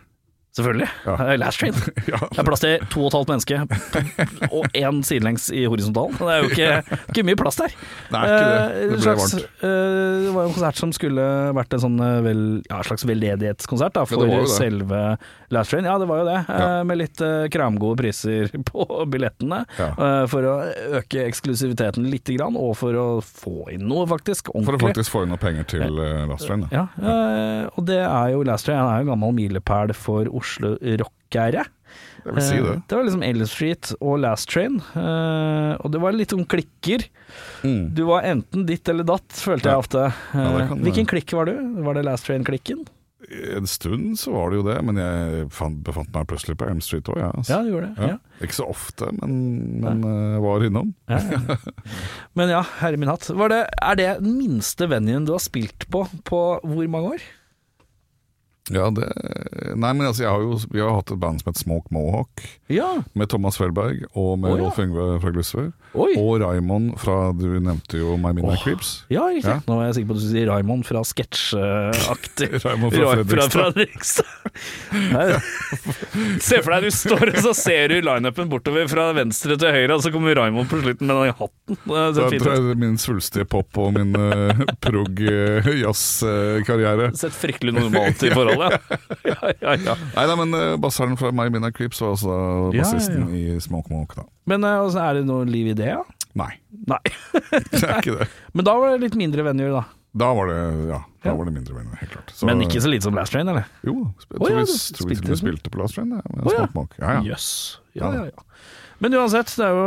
Speaker 1: Selvfølgelig.
Speaker 2: Ja.
Speaker 1: Det er Last Train.
Speaker 2: Ja.
Speaker 1: Det er plass til to og et halvt menneske og én sidelengs i horisontalen. Det er jo ikke, ikke mye plass der.
Speaker 2: Nei, ikke det.
Speaker 1: Eh,
Speaker 2: Det ble
Speaker 1: slags,
Speaker 2: varmt.
Speaker 1: eh, det var jo en konsert som skulle vært en sånn eh, vel, ja, slags veldedighetskonsert da, for
Speaker 2: var jo det.
Speaker 1: selve Last Train. Ja, det var jo det, eh, med litt eh, kramgode priser på billettene.
Speaker 2: Ja.
Speaker 1: eh, for å øke eksklusiviteten lite grann, og for å få inn noe, faktisk.
Speaker 2: For å
Speaker 1: Ordentlig.
Speaker 2: faktisk få inn noe penger til eh, Last Train. da.
Speaker 1: Ja, eh, og det er jo Last Train han er jo en gammel milepæl for Oslo rockere.
Speaker 2: Jeg vil si det.
Speaker 1: Eh, Det var liksom Ellis Street og Last Train, eh, og det var litt om klikker. Eh,
Speaker 2: Mm.
Speaker 1: Du var enten ditt eller datt, følte jeg
Speaker 2: Ja.
Speaker 1: ofte.
Speaker 2: Ja, det
Speaker 1: Eh,
Speaker 2: kan det.
Speaker 1: Hvilken klikk var du? Var det Last Train-klikken?
Speaker 2: En stund så var det jo det, men jeg fant, befant meg plutselig på Elm Street òg. Ja, altså.
Speaker 1: Ja, du gjorde det.
Speaker 2: Ja.
Speaker 1: Ja.
Speaker 2: Ikke så ofte, men, men eh, var innom.
Speaker 1: Ja, ja. Men ja, herre min hatt. Var det, er det den minste venuen du har spilt på på hvor mange år?
Speaker 2: Ja, det Nei, men altså, jeg har jo, vi har jo hatt et band som het Smoke Mohawk,
Speaker 1: Ja,
Speaker 2: med Thomas Felberg og
Speaker 1: Å,
Speaker 2: med
Speaker 1: ja.
Speaker 2: Rolf Yngve fra Glussvær.
Speaker 1: oi.
Speaker 2: Og Raymond fra Du nevnte jo My Midnight Creeps.
Speaker 1: Ja, riktig.
Speaker 2: Ja.
Speaker 1: Nå var jeg sikker på at du sier Raymond fra sketsjaktig.
Speaker 2: Raymond fra Fredrikstad.
Speaker 1: Fra Fredrikstad. Nei,
Speaker 3: Se for deg du står og så ser du lineupen bortover fra venstre til høyre, og så kommer Raymond på slutten med den hatten. Det
Speaker 2: Da
Speaker 3: ser fint
Speaker 2: tror
Speaker 3: ut.
Speaker 2: jeg min svulstige pop og min eh, prog-jazz-karriere.
Speaker 3: Sett fryktelig normalt i forholdet. Ja, ja, ja.
Speaker 2: Nei, nei, men eh, basseren fra My Midnight Creeps var altså da
Speaker 1: Ja,
Speaker 2: bassisten i Smoke Mohawk, da.
Speaker 1: Men eh, altså, er det noe liv i det, ja?
Speaker 2: Nei,
Speaker 1: Nei.
Speaker 2: det er ikke det.
Speaker 1: Men da var det litt mindre venner, da.
Speaker 2: Da var det, ja, da
Speaker 1: Ja.
Speaker 2: var det mindre venner, helt klart. Så-
Speaker 1: Men ikke så lite som Last Train, eller?
Speaker 2: Jo, jeg
Speaker 1: Å,
Speaker 2: tror,
Speaker 1: ja,
Speaker 2: vi,
Speaker 1: du
Speaker 2: tror
Speaker 1: spilte
Speaker 2: vi til og med
Speaker 1: det.
Speaker 2: spilte på Last Train, jeg, med
Speaker 1: Å, ja.
Speaker 2: Smoke Mohawk. Ja, ja.
Speaker 1: Jøss. Ja, ja, ja. Men uansett, det er jo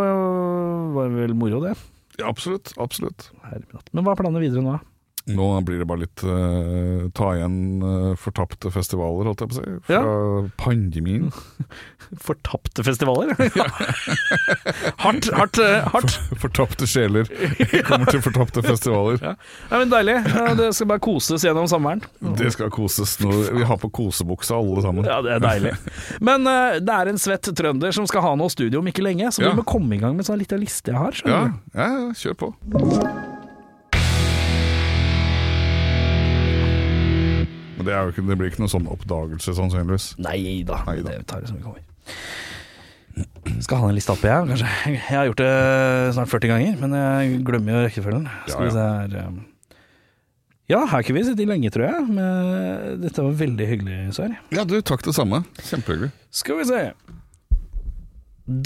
Speaker 1: var vel moro, det.
Speaker 2: ja, absolutt. absolutt.
Speaker 1: Herre min hatt. Men hva er planene videre nå?
Speaker 2: Nå blir det bare litt eh, ta igjen eh, fortapte festivaler, holdt jeg på å si, fra pandemien.
Speaker 1: Fortapte festivaler? hardt, hardt, eh, hardt.
Speaker 2: Fortapte sjeler kommer til fortapte festivaler.
Speaker 1: Nei, men deilig. Ja, Det skal bare koses gjennom sommeren.
Speaker 2: Det skal koses nå. Vi har på kosebuksa alle sammen.
Speaker 1: Ja, det er deilig. Men eh, det er en svett trønder som skal ha noe studio om ikke lenge, så
Speaker 2: Ja.
Speaker 1: vi må komme i gang med en sånn liten liste jeg har.
Speaker 2: Ja,
Speaker 1: skjønner du.
Speaker 2: ja, ja, kjør på. Men det, er jo ikke, det blir ikke noen sånn oppdagelse, sannsynligvis.
Speaker 1: Nei da,
Speaker 2: Nei da.
Speaker 1: det tar vi som vi kommer. Skal ha den lista oppi her, kanskje. Jeg har gjort det snart 40 ganger, men jeg glemmer jo rekkefølgen. Skal
Speaker 2: Ja,
Speaker 1: vi se her eh. Ja, her kunne vi sittet lenge, tror jeg. Men dette var veldig hyggelig, Sverre.
Speaker 2: Ja, du, takk det samme. Kjempehyggelig.
Speaker 1: Skal vi se.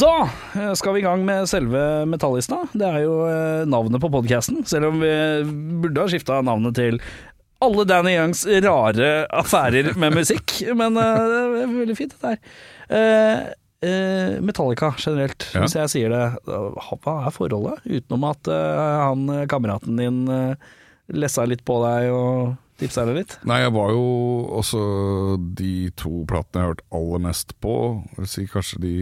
Speaker 1: Da eh, skal vi i gang med selve metallista. Det er jo eh, navnet på podkasten, selv om vi eh, burde ha skifta navnet til alle Danny Youngs rare affærer med musikk. Men eh, det er veldig fint, dette her. Eh, eh, Metallica generelt,
Speaker 2: Ja.
Speaker 1: hvis jeg sier det. eh, Hva er forholdet? Utenom at eh, han eh, kameraten din eh, lessa litt på deg og tipsa deg litt.
Speaker 2: Nei, jeg var jo også de to platene jeg har hørt aller mest på. Jeg vil si kanskje de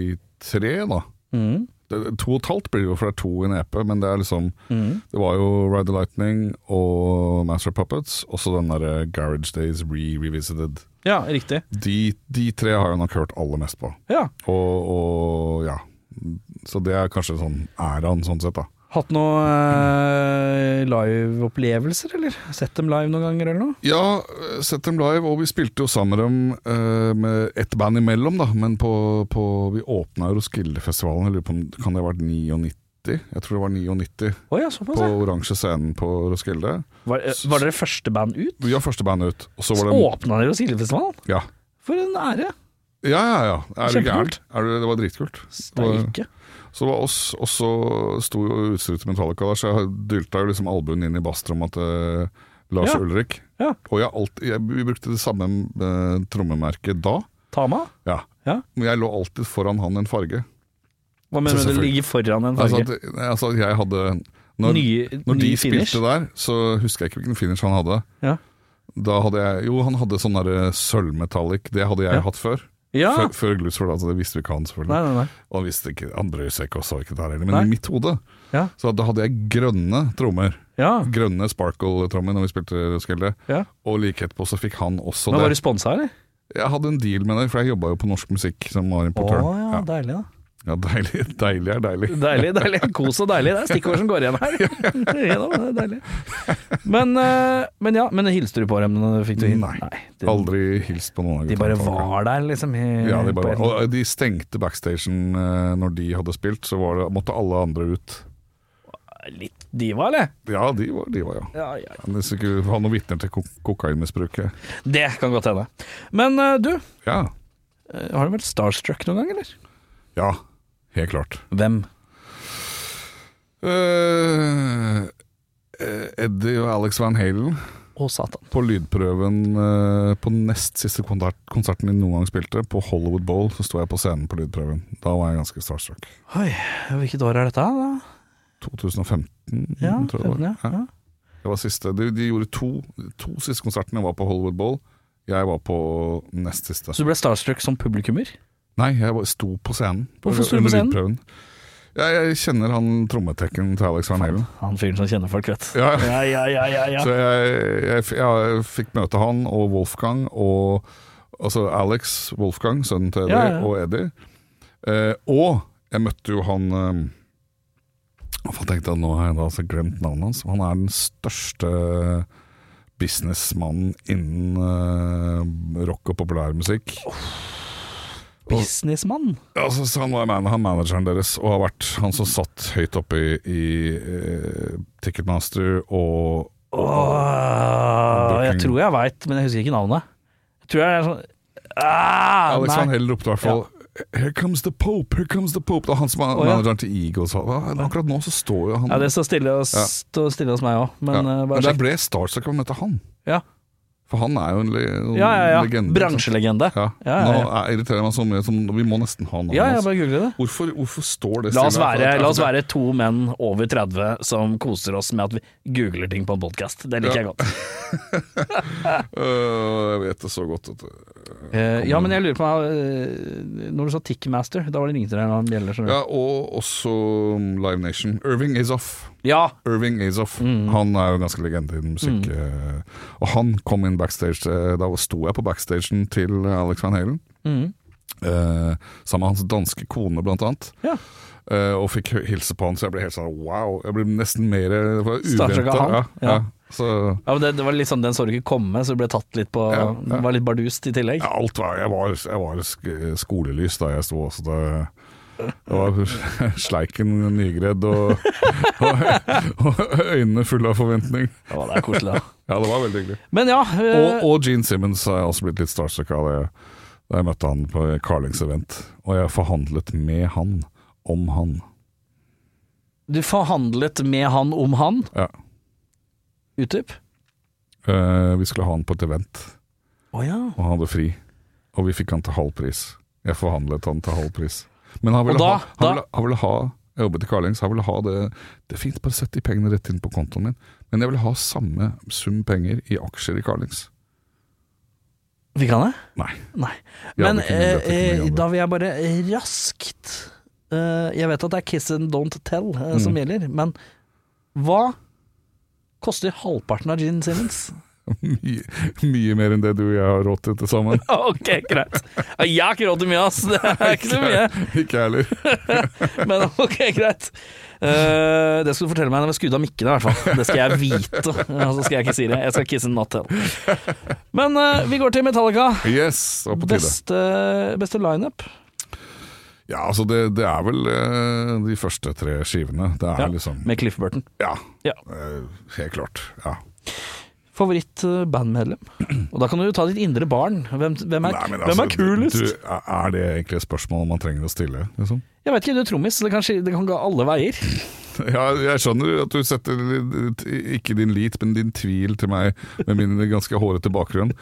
Speaker 2: tre, da.
Speaker 1: Mhm.
Speaker 2: Det, to og et halvt blir det jo, for det er to i en EP, men det er liksom
Speaker 1: Mhm.
Speaker 2: Det var jo Ride the Lightning og Master of Puppets, og så den derre Garage Days Re-Revisited.
Speaker 1: Ja, riktig.
Speaker 2: De, de tre har jeg nok hørt aller mest på.
Speaker 1: Ja.
Speaker 2: Og, og ja. Så det er kanskje sånn æraen, sånn sett, da.
Speaker 1: Hatt noen eh, live-opplevelser, eller? Sett dem live noen ganger, eller noe?
Speaker 2: Ja, eh, sett dem live, og vi spilte jo sammen med dem eh, med ett band imellom, da. Men på, på Vi åpna Roskilde-festivalen, jeg lurer på om kan det ha vært 99? Jeg tror det var 99,
Speaker 1: Å ja, såpass,
Speaker 2: på
Speaker 1: ja.
Speaker 2: oransje scenen på Roskilde.
Speaker 1: Var, eh, var dere første band ut?
Speaker 2: Vi var første band ut, og
Speaker 1: Så
Speaker 2: så var det
Speaker 1: åpna dere Roskildefestivalen?
Speaker 2: Ja.
Speaker 1: For en ære!
Speaker 2: Ja, ja, ja. Er det gærent?
Speaker 1: Kjempekult.
Speaker 2: Er det, det var dritkult.
Speaker 1: Steike.
Speaker 2: Så det var oss, og så sto jo utstyret til Metallica der, så jeg dylta jo liksom albuen inn i basstromma til Lars
Speaker 1: Ja.
Speaker 2: Ulrik.
Speaker 1: Ja.
Speaker 2: Og jeg alltid, jeg, vi brukte det samme eh, trommemerket da.
Speaker 1: Tama?
Speaker 2: Ja.
Speaker 1: Ja.
Speaker 2: Men jeg lå alltid foran han en farge.
Speaker 1: Hva mener du
Speaker 2: Så
Speaker 1: det
Speaker 2: selvfølgelig.
Speaker 1: ligger foran en
Speaker 2: Altså,
Speaker 1: farge?
Speaker 2: at, nei, altså at jeg hadde Når,
Speaker 1: nye
Speaker 2: når de
Speaker 1: ny finish?
Speaker 2: spilte der, så husker jeg ikke hvilken finish han hadde.
Speaker 1: Ja.
Speaker 2: Da hadde jeg Jo, han hadde sånn derre sølvmetallic. Det hadde jeg
Speaker 1: Ja. Ah.
Speaker 2: hatt før.
Speaker 1: Ja!
Speaker 2: Før, før Glutsford, altså det visste vi ikke han, selvfølgelig.
Speaker 1: Nei, nei, nei.
Speaker 2: Og han visste ikke, han brød seg ikke og så ikke det her heller, men
Speaker 1: Nei.
Speaker 2: i mitt hode.
Speaker 1: Ja.
Speaker 2: Så da hadde jeg grønne trommer.
Speaker 1: Ja.
Speaker 2: Grønne sparkle-trommer når vi spilte Roskilde.
Speaker 1: ja.
Speaker 2: Og like etterpå så fikk han også
Speaker 1: Men var
Speaker 2: det.
Speaker 1: du sponsa, eller?
Speaker 2: Jeg hadde en deal med det, for jeg jobba jo på Norsk Musikk som var
Speaker 1: Å
Speaker 2: importør.
Speaker 1: ja,
Speaker 2: ja.
Speaker 1: deilig, da.
Speaker 2: ja, deilig, deilig er deilig.
Speaker 1: Deilig, deilig. Kos og deilig. Det er stikkord som går igjen her. ja, da, det er deilig. Men, eh, men ja, men hilste du på dem? når du Fikk du hint?
Speaker 2: Nei.
Speaker 1: det-
Speaker 2: Aldri hilst på noen av
Speaker 1: De bare
Speaker 2: gutta.
Speaker 1: var der, liksom? I,
Speaker 2: Ja, de
Speaker 1: på
Speaker 2: bare
Speaker 1: en-
Speaker 2: var. Og de stengte backstagen eh, når de hadde spilt, så var det, måtte alle andre ut.
Speaker 1: Litt diva, eller?
Speaker 2: Ja, de var, de var ja.
Speaker 1: Ja, ja.
Speaker 2: Men Hvis du ikke har noen vitner til kok kokainmisbruket.
Speaker 1: Det kan godt hende. Men eh, du,
Speaker 2: Ja.
Speaker 1: eh, har du vært starstruck noen gang, eller?
Speaker 2: ja, helt klart.
Speaker 1: Hvem?
Speaker 2: Eh, eh, Eddie og Alex Van Halen
Speaker 1: Å, satan.
Speaker 2: på lydprøven eh, på nest siste konsert, konserten de noen gang spilte, på Hollywood Bowl, så sto jeg på scenen på lydprøven. Da var jeg ganske starstruck.
Speaker 1: Oi, hvilket år er dette? da?
Speaker 2: 2015,
Speaker 1: Ja,
Speaker 2: tror
Speaker 1: 15,
Speaker 2: Mm, jeg det var.
Speaker 1: ja.
Speaker 2: Ja.
Speaker 1: ja.
Speaker 2: Det var siste. De, de gjorde to, to siste konsertene var på Hollywood Bowl. Jeg var på nest siste.
Speaker 1: Så du ble starstruck som publikummer?
Speaker 2: Nei, jeg var, sto på scenen.
Speaker 1: Hvorfor sto du på
Speaker 2: Under
Speaker 1: scenen?
Speaker 2: lydprøven. Ja, jeg kjenner han trommetekken til Alex Van Halen.
Speaker 1: Han fyren som kjenner folk, vet du.
Speaker 2: Ja,
Speaker 1: Ja, ja, ja, ja, ja.
Speaker 2: Så jeg, jeg, f- jeg fikk møte han og Wolfgang og altså Alex Wolfgang, sønnen til Eddie,
Speaker 1: Ja, ja.
Speaker 2: og Eddie. Eh, og jeg møtte jo han eh, Jeg tenkte at nå har jeg da altså glemt navnet hans. Han er den største businessmannen innen eh, rock og populærmusikk.
Speaker 1: Businessmann.
Speaker 2: Altså, så han var man han manageren deres, og har vært han som satt høyt oppe i, i eh, Ticketmaster og
Speaker 1: Åh, jeg tror jeg veit, men jeg husker ikke navnet. Jeg tror jeg er sånn ah,
Speaker 2: Alex Van
Speaker 1: nei.
Speaker 2: Hell ropte i hvert fall Here comes the Pope, here comes the Pope. Det er han som er
Speaker 1: Å, ja.
Speaker 2: manageren til Eagles. og- ja, Akkurat nå så står jo han
Speaker 1: Ja, det står stille hos,
Speaker 2: Ja.
Speaker 1: står stille hos meg òg, men
Speaker 2: Ja.
Speaker 1: eh,
Speaker 2: Men
Speaker 1: bare
Speaker 2: jeg
Speaker 1: sjekk.
Speaker 2: ble starstruck av å møte han,
Speaker 1: Ja.
Speaker 2: for han er jo en, le en
Speaker 1: ja, ja, ja.
Speaker 2: legende.
Speaker 1: Bransjelegende.
Speaker 2: Ja.
Speaker 1: Ja, ja, ja.
Speaker 2: Nå er- irriterer jeg meg så mye som Vi må nesten ha navnet
Speaker 1: Ja,
Speaker 2: hans.
Speaker 1: jeg bare googler det.
Speaker 2: Hvorfor, hvorfor står det
Speaker 1: La oss,
Speaker 2: stille her? For
Speaker 1: være,
Speaker 2: at-
Speaker 1: la oss
Speaker 2: for at-
Speaker 1: være to menn over 30 som koser oss med at vi googler ting på en podkast. Det liker jeg
Speaker 2: Ja.
Speaker 1: godt.
Speaker 2: Øh, jeg vet det så godt. At,
Speaker 1: Eh, ja, men jeg lurer på meg, eh, Når du sa Tickmaster, da var det ringte deg en bjelle? skjønner du.
Speaker 2: ja, og også um, Live Nation. Irving Azoff.
Speaker 1: Ja.
Speaker 2: Irving Azoff. Han er jo ganske legende innen musikk. eh, Og han kom inn backstage eh, Da sto jeg på backstagen til Alex Van Halen.
Speaker 1: Mhm.
Speaker 2: eh, sammen med hans danske kone, blant annet.
Speaker 1: Ja.
Speaker 2: Eh, og fikk hø- hilse på han, så jeg ble helt sånn wow. Jeg ble nesten mer
Speaker 1: Starstruck
Speaker 2: uventa.
Speaker 1: av han?
Speaker 2: Ja, ja.
Speaker 1: Ja.
Speaker 2: Så
Speaker 1: ja, men det, det var litt sånn den så du ikke komme, så du ble tatt litt på
Speaker 2: Ja, ja.
Speaker 1: Var litt bardust i tillegg.
Speaker 2: ja, alt var Jeg var, jeg var sk skolelys da jeg sto også. Det, det var sleiken nygredd og, og, og øynene fulle av forventning.
Speaker 1: Ja, det er koselig, da.
Speaker 2: Ja, det var veldig hyggelig.
Speaker 1: Men ja, eh,
Speaker 2: Og, og Gene Simmons har jeg også blitt litt starstruck av det. Da jeg møtte han på Carlings event, og jeg forhandlet med han om han.
Speaker 1: du forhandlet med han om han?
Speaker 2: Ja.
Speaker 1: Utdyp?
Speaker 2: Eh, vi skulle ha han på et event,
Speaker 1: Å ja.
Speaker 2: og han hadde fri. Og vi fikk han til halv pris. Jeg forhandlet han til halv pris. Men han ville
Speaker 1: Og da-
Speaker 2: ha, han
Speaker 1: da-
Speaker 2: ville, han ville ha Jeg jobbet i Carlings, han ville ha det Det er fint, bare sett de pengene rett inn på kontoen min. Men jeg ville ha samme sum penger i aksjer i Carlings.
Speaker 1: Fikk han det?
Speaker 2: Nei.
Speaker 1: Nei.
Speaker 2: Vi hadde
Speaker 1: Men
Speaker 2: ikke mulighet til å kunne
Speaker 1: eh,
Speaker 2: gjøre det.
Speaker 1: da vil jeg bare raskt eh, Jeg vet at det er kiss and don't tell eh, som gjelder, men hva koster halvparten av Gene Simmons?
Speaker 2: Mye, mye mer enn det du og jeg har råd til til sammen.
Speaker 1: ok, greit. Ja, Jeg har ikke råd til mye, ass. Det er ikke så mye.
Speaker 2: Ikke jeg heller.
Speaker 1: Men ok, greit. Eh, det skal du fortelle meg når vi skrur av mikkene, i hvert fall. Det skal jeg vite. Og så skal jeg ikke si det. Jeg skal kiss and not tell. Men eh, vi går til Metallica.
Speaker 2: Yes, det var på tide.
Speaker 1: Beste, beste lineup.
Speaker 2: Ja, altså det, det er vel eh, de første tre skivene. Det er
Speaker 1: Ja,
Speaker 2: liksom
Speaker 1: med Cliff Burton.
Speaker 2: Ja.
Speaker 1: Ja.
Speaker 2: eh, helt klart. Ja.
Speaker 1: Favoritt-bandmedlem? Og da kan du jo ta ditt indre barn. Hvem, hvem, er,
Speaker 2: Nei, men
Speaker 1: hvem
Speaker 2: altså,
Speaker 1: er kulest?
Speaker 2: Du, er det egentlig et spørsmål man trenger å stille? Liksom?
Speaker 1: Jeg vet ikke, du er trommis, så det kan, skil- det kan gå alle veier.
Speaker 2: Ja, jeg skjønner at du setter litt- ikke din lit, men din tvil til meg med min ganske hårete bakgrunn.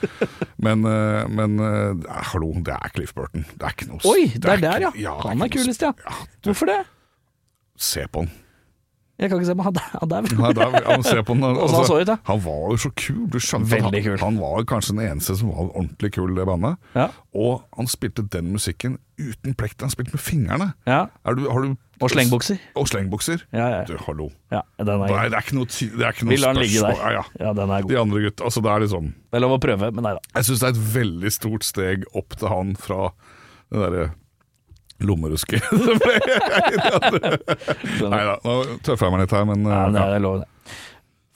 Speaker 2: Men, eh, men eh, nei, hallo, det er Cliff Burton. Det er ikke noe s-
Speaker 1: Oi, det er der, ja.
Speaker 2: ikke- det
Speaker 1: Han er
Speaker 2: ikke noe s-
Speaker 1: kulest, ja.
Speaker 2: du,
Speaker 1: Hvorfor det?
Speaker 2: se på han.
Speaker 1: Jeg kan ikke se på han der- han der.
Speaker 2: Nei, det er, ja, men se på han,
Speaker 1: Og så han så ut, ja.
Speaker 2: han var jo så kul. Du skjønte at han,
Speaker 1: Veldig kul.
Speaker 2: han var kanskje den eneste som var ordentlig kul i det bandet.
Speaker 1: Ja.
Speaker 2: Og han spilte den musikken uten plekt. Han spilte med fingrene.
Speaker 1: ja.
Speaker 2: Er du, har du,
Speaker 1: Og slengbukser.
Speaker 2: Og slengbukser.
Speaker 1: Ja, ja.
Speaker 2: Du, hallo.
Speaker 1: ja den
Speaker 2: Nei,
Speaker 1: er,
Speaker 2: det er ikke noe, ti- det er ikke noe
Speaker 1: vi lar den ligge
Speaker 2: spørsmål.
Speaker 1: der.
Speaker 2: Ja, ja.
Speaker 1: Ja, den er god.
Speaker 2: De andre gutta. Altså, det er liksom
Speaker 1: Det er lov å prøve, men nei da.
Speaker 2: Jeg syns det er et veldig stort steg opp til han fra det derre lommerusket. Nei da, nå tøffer jeg meg litt her, men
Speaker 1: Nei, men
Speaker 2: eh,
Speaker 1: det
Speaker 2: ja,
Speaker 1: er lov, det.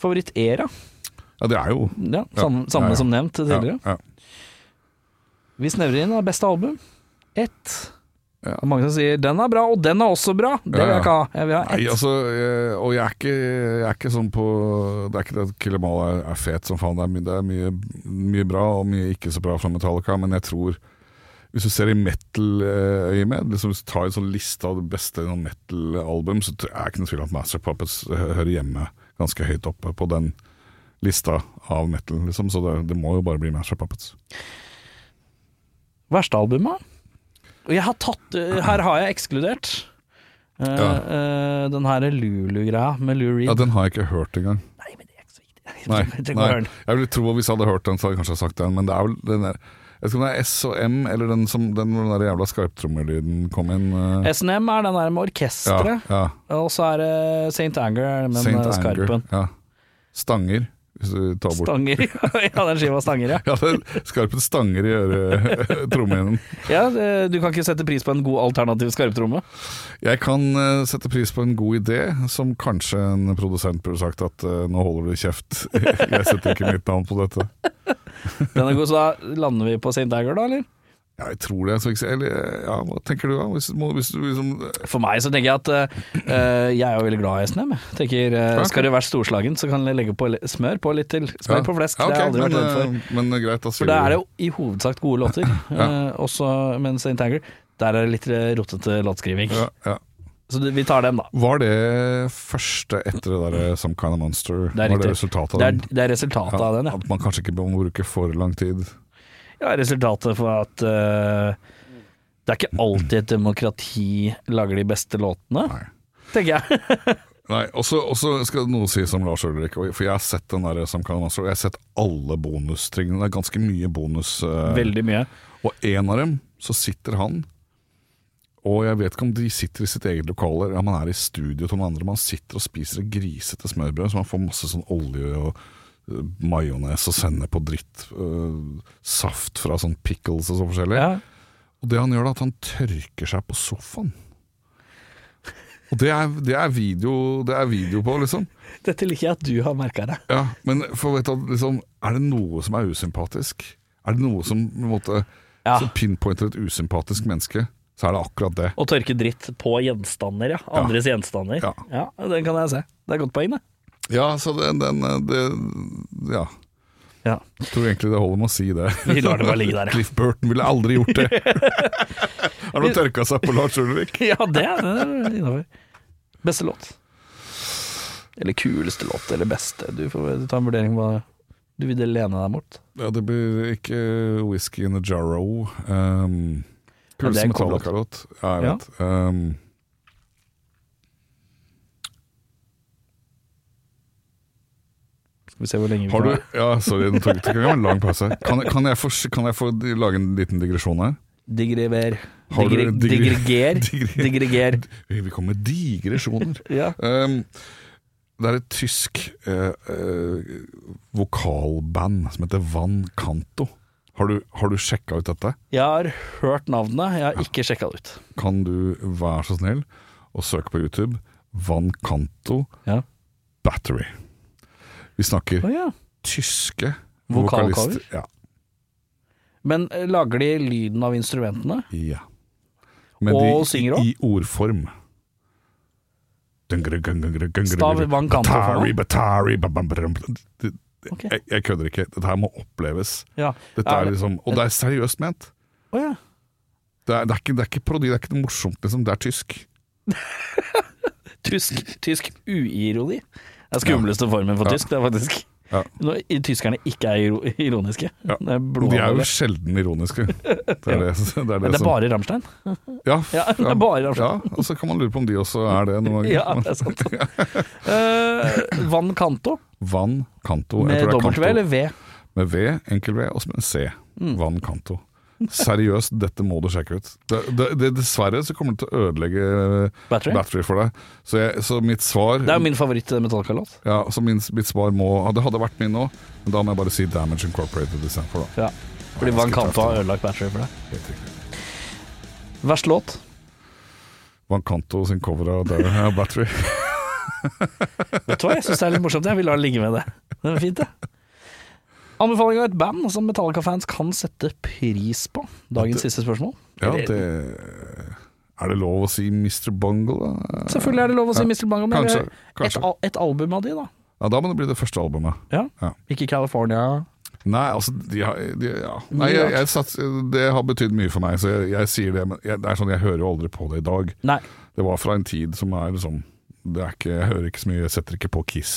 Speaker 1: Favoritt-era?
Speaker 2: ja det er jo
Speaker 1: Ja, samme, samme
Speaker 2: ja, ja.
Speaker 1: som nevnt
Speaker 2: ja,
Speaker 1: tidligere.
Speaker 2: ja.
Speaker 1: Vi snevrer inn av beste album. Ett.
Speaker 2: Ja.
Speaker 1: Og Mange som sier 'den er bra', og 'den er også bra'. Det vil
Speaker 2: Ja, ja.
Speaker 1: jeg ikke ha. Jeg vil ha
Speaker 2: Nei,
Speaker 1: ett.
Speaker 2: altså, eh, og jeg er ikke, jeg er ikke sånn på Det er ikke det at Killer Mall er, er fet som faen. Det er, my, det er mye, mye bra og mye ikke så bra fra Metallica, men jeg tror hvis du ser i metal-øyemed, liksom hvis du tar en sånn liste av det beste i noen metal-album, så tror jeg- jeg er ikke noe tvil om at Master of Puppets hø- hører hjemme ganske høyt oppe på den lista av metal, liksom. Så det, det må jo bare bli Master of Puppets.
Speaker 1: Verste albumet? Og jeg har tatt eh, Her har jeg ekskludert. eh, eh, den her Lulu-greia med Lou Reed.
Speaker 2: Ja, den har jeg ikke hørt engang.
Speaker 1: Nei, men det er ikke så viktig. Jeg
Speaker 2: Nei,
Speaker 1: trenger ikke å
Speaker 2: nei.
Speaker 1: høre den.
Speaker 2: Jeg ville tro at hvis jeg hadde hørt den, så hadde jeg kanskje sagt den, men det er vel den der Jeg vet ikke om det er S og M, eller den, som, den hvor den der jævla skarptrommelyden kom inn. eh,
Speaker 1: SNM er den der med
Speaker 2: ja,
Speaker 1: orkesteret,
Speaker 2: ja.
Speaker 1: og så er det St. Anger med
Speaker 2: Saint
Speaker 1: den eh,
Speaker 2: Anger.
Speaker 1: skarpen.
Speaker 2: Ja. Stanger, hvis du tar bort
Speaker 1: Stanger. ja, den skiva Stanger, ja.
Speaker 2: Ja, det er skarpen stanger i øret, trommehinnen.
Speaker 1: ja. eh, Du kan ikke sette pris på en god alternativ skarptromme?
Speaker 2: Jeg kan eh, sette pris på en god idé, som kanskje en produsent burde sagt at eh, nå holder du kjeft, jeg setter ikke mitt navn på dette.
Speaker 1: Den er god, så da lander vi på St. Anger, da, eller?
Speaker 2: Ja, jeg tror det. Så ikke, eller, eh, ja, hva tenker du da? Hvis, må, hvis du liksom
Speaker 1: For meg så tenker jeg at eh, eh, jeg er jo veldig glad i SNM. jeg. Tenker, eh, Skal det være storslagen, så kan jeg legge på li- smør på litt til. Smør
Speaker 2: Ja.
Speaker 1: på flesk,
Speaker 2: Ja,
Speaker 1: det har jeg
Speaker 2: ok,
Speaker 1: aldri vært redd for.
Speaker 2: men, eh, Men greit, da
Speaker 1: For
Speaker 2: sier
Speaker 1: da er det
Speaker 2: du
Speaker 1: jo i hovedsak gode låter,
Speaker 2: Ja.
Speaker 1: eh, også, men St. Anger der er det litt eh, rotete låtskriving.
Speaker 2: ja, ja.
Speaker 1: Så det- vi tar dem, da.
Speaker 2: Var det første etter det derre Some Kind of Monster?
Speaker 1: Det er
Speaker 2: var det
Speaker 1: riktig.
Speaker 2: resultatet av
Speaker 1: Det er,
Speaker 2: den?
Speaker 1: det er resultatet av den, ja.
Speaker 2: At man kanskje ikke må bruke for lang tid.
Speaker 1: ja. Resultatet for at eh, det er ikke alltid et demokrati lager de beste låtene,
Speaker 2: Nei.
Speaker 1: tenker jeg.
Speaker 2: Nei, også, også skal det noe si som Lars Ulrik, og- for jeg har sett den der Some Kind of Monster, og jeg har sett alle bonustringene. Det er ganske mye bonus. eh,
Speaker 1: Veldig mye.
Speaker 2: Og en av dem, så sitter han Og jeg vet ikke om de sitter i sitt eget lokale eller om han er i studio til noen andre. Man sitter og spiser et grisete smørbrød, så man får masse sånn olje og øh, majones og sennep og dritt. øh, saft fra sånn pickles og så forskjellig.
Speaker 1: Ja.
Speaker 2: Og det han gjør da, at han tørker seg på sofaen. Og det er, det er, video, det er video på, liksom.
Speaker 1: Dette liker jeg at du har merka deg.
Speaker 2: Ja, men for vet du, liksom, er det noe som er usympatisk? Er det noe som på en måte
Speaker 1: Ja.
Speaker 2: så pinpointer et usympatisk menneske, så er det akkurat det.
Speaker 1: Å tørke dritt på gjenstander, ja. Andres gjenstander.
Speaker 2: Ja.
Speaker 1: Den kan jeg se. Det er et godt poeng, det.
Speaker 2: Ja, så den, den det, Ja.
Speaker 1: Ja.
Speaker 2: Jeg tror egentlig det holder med å si det.
Speaker 1: Vi lar det bare ligge der, ja.
Speaker 2: Cliff Burton ville aldri gjort det. Har du tørka seg på Lars Ulrik?
Speaker 1: Ja, det er innafor. Beste låt. Eller kuleste låt, eller beste. Du får ta en vurdering på hva du vil lene deg mot.
Speaker 2: Ja, det blir ikke Whisky in a Jarrow. Um,
Speaker 1: Ja, det er
Speaker 2: Kuleste
Speaker 1: en cool låt.
Speaker 2: Metallica-låt. Ja, jeg
Speaker 1: Ja.
Speaker 2: vet. Um,
Speaker 1: Skal vi se hvor lenge vi
Speaker 2: har du
Speaker 1: kan-
Speaker 2: Ja, sorry, nå tok det var en lang pause. Kan, kan, jeg få, kan jeg få lage en liten digresjon her?
Speaker 1: Digrever.
Speaker 2: Har du-
Speaker 1: Digre,
Speaker 2: digre-
Speaker 1: digreger.
Speaker 2: digre-
Speaker 1: Digreger.
Speaker 2: Vi kommer med digresjoner.
Speaker 1: Ja.
Speaker 2: Um, det er et tysk eh, eh, vokalband som heter Van Canto. Har du, har du sjekka ut dette?
Speaker 1: Jeg har hørt navnet, jeg har ikke sjekka det ut.
Speaker 2: Kan du være så snill å søke på YouTube Van Canto
Speaker 1: Ja.
Speaker 2: Battery. Vi snakker
Speaker 1: Å ja.
Speaker 2: tyske
Speaker 1: Vokalcover?
Speaker 2: vokalister. Ja.
Speaker 1: Men eh, lager de lyden av instrumentene?
Speaker 2: ja. Men
Speaker 1: Og
Speaker 2: de-
Speaker 1: synger også?
Speaker 2: I ordform.
Speaker 1: Stav Van Canto for meg.
Speaker 2: Batari, Batari, ba- ba- ba- ba- Det- det-
Speaker 1: Ok.
Speaker 2: Jeg, jeg kødder ikke. Dette her må oppleves.
Speaker 1: Ja.
Speaker 2: Dette er liksom, og det er seriøst ment.
Speaker 1: Å ja.
Speaker 2: Det er, det, er ikke, det er ikke parodi, det er ikke noe morsomt, liksom. Det er tysk.
Speaker 1: Tysk, tysk uironi. Det er skumleste formen for
Speaker 2: Ja.
Speaker 1: tysk, det er faktisk.
Speaker 2: Ja.
Speaker 1: Når i- tyskerne ikke er iro ironiske.
Speaker 2: Ja.
Speaker 1: Det er
Speaker 2: Men de er jo
Speaker 1: blodalvorlig.
Speaker 2: sjelden ironiske. Det er det, det, er
Speaker 1: Men det er
Speaker 2: som-
Speaker 1: bare Rammstein.
Speaker 2: ja,
Speaker 1: Ja, det er bare
Speaker 2: ja,
Speaker 1: Rammstein.
Speaker 2: og så kan man lure på om de også er det noen ganger.
Speaker 1: Ja, det er sant. Eh, Van Canto
Speaker 2: Van Kanto. Oh, jeg
Speaker 1: med
Speaker 2: tror det er
Speaker 1: dobbelt V
Speaker 2: Kanto.
Speaker 1: eller Mm. V?
Speaker 2: Med V, enkel V og så med en C. Van Kanto. Seriøst, dette må du sjekke ut. Det, det, det, dessverre så kommer det til å ødelegge
Speaker 1: Battery.
Speaker 2: battery for deg. Så, jeg, så mitt svar
Speaker 1: Det er jo min eh, favoritt-metallkalott.
Speaker 2: ja, så min, mitt svar må Det hadde vært min òg, men da må jeg bare si Damage Incorporated istedenfor, da.
Speaker 1: Ja. Fordi Van Canto har ødelagt battery for deg.
Speaker 2: Helt riktig.
Speaker 1: Verst låt?
Speaker 2: Van Canto sin cover av Darren Hannah Battery.
Speaker 1: Vet du hva, jeg syns det er litt morsomt. Jeg vil la det ligge med det. Det er fint, det. Anbefaling av et band som Metallica-fans kan sette pris på. Dagens siste spørsmål.
Speaker 2: Ja, det Er det lov å si Mr. Bungle, da?
Speaker 1: Selvfølgelig er det lov å si Mr. Bango, men
Speaker 2: Kanskje,
Speaker 1: et,
Speaker 2: kanskje.
Speaker 1: al et album av de, da.
Speaker 2: Ja, da må det bli det første albumet.
Speaker 1: Ja.
Speaker 2: Ja.
Speaker 1: Ikke California.
Speaker 2: Nei, altså de har, de, ja.
Speaker 1: Mye
Speaker 2: Nei, jeg,
Speaker 1: rart.
Speaker 2: jeg sats, Det har betydd mye for meg, så jeg, jeg sier det. Men jeg, det er sånn, jeg hører jo aldri på det i dag.
Speaker 1: Nei.
Speaker 2: Det var fra en tid som er liksom det er ikke, Jeg hører ikke så mye, jeg setter ikke på Kiss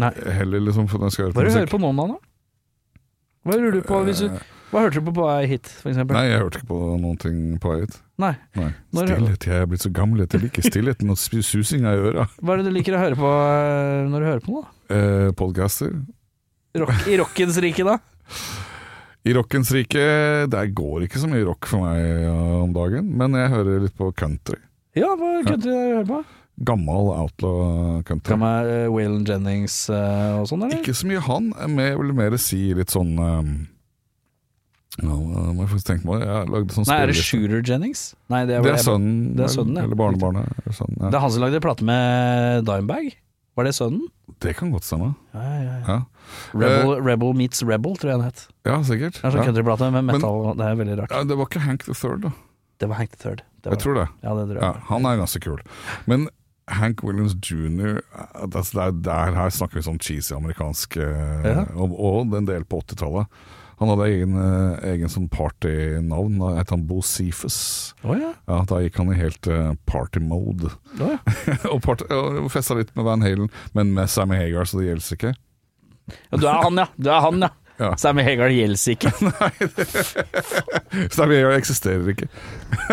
Speaker 1: Nei.
Speaker 2: heller, liksom. For når jeg skal høre
Speaker 1: Hva
Speaker 2: på
Speaker 1: er det du hører
Speaker 2: musikk. Eh,
Speaker 1: på nå, da? Hva hører du på hvis du Hva hørte du på på vei hit, for eksempel?
Speaker 2: Nei, jeg hørte ikke på noen ting på vei ut.
Speaker 1: Nei.
Speaker 2: Nei.
Speaker 1: Når-
Speaker 2: Stillhet, jeg er blitt så gammel at jeg liker stillheten og sp- susinga i øra.
Speaker 1: Hva er det du liker å høre på eh, når du hører på noe? da?
Speaker 2: Eh, Podcaster.
Speaker 1: Rock, I rockens rike, da?
Speaker 2: I rockens rike Der går ikke så mye rock for meg ja, om dagen, men jeg hører litt på country.
Speaker 1: Ja, hva kunne du høre på?
Speaker 2: Gammal outlaw country.
Speaker 1: Kan man uh, Waylon Jennings eh, og sånn, eller?
Speaker 2: Ikke så mye han, eh, men jeg vil mer si litt sånn um, ja, nå må jeg faktisk tenke meg om. Jeg lagde sånn
Speaker 1: Nei, er det
Speaker 2: spilleliste.
Speaker 1: Shooter Jennings? Nei, det, er-
Speaker 2: Det er sønnen,
Speaker 1: det er
Speaker 2: vel,
Speaker 1: sønnen, ja.
Speaker 2: eller barnebarnet. eller Sønnen,
Speaker 1: Det
Speaker 2: ja.
Speaker 1: er han som lagde plate med Dimebag? Var det sønnen?
Speaker 2: Det kan godt stemme.
Speaker 1: Ja, ja, ja.
Speaker 2: Ja,
Speaker 1: Rebel, Rebel Meets Rebel, tror jeg den het.
Speaker 2: ja sikkert.
Speaker 1: Det er sånn
Speaker 2: Ja.
Speaker 1: countryplate med
Speaker 2: Men-
Speaker 1: metal, og det er veldig rart.
Speaker 2: Ja, det var ikke Hank the Third, da.
Speaker 1: Det var Hank the Third. Det var,
Speaker 2: Jeg tror det.
Speaker 1: ja, det tror jeg.
Speaker 2: Ja, han er ganske kul. Men Hank Williams jr. eh, that's- Der, der her snakker vi sånn cheesy amerikansk eh,
Speaker 1: Ja.
Speaker 2: og, og en del på 80-tallet. Han hadde egen, eh, egen sånn partynavn. Da het han Bo Cephas.
Speaker 1: Å ja.
Speaker 2: Ja, da gikk han i helt eh, party-mode.
Speaker 1: Å, ja.
Speaker 2: og part og festa litt med Van Halen, men med Sammy Hagar, så det gjelder ikke.
Speaker 1: ja. Du er han, ja. Du er han, ja.
Speaker 2: Ja.
Speaker 1: Sammy Hagar gjelder ikke.
Speaker 2: Sammy Hagar eksisterer ikke.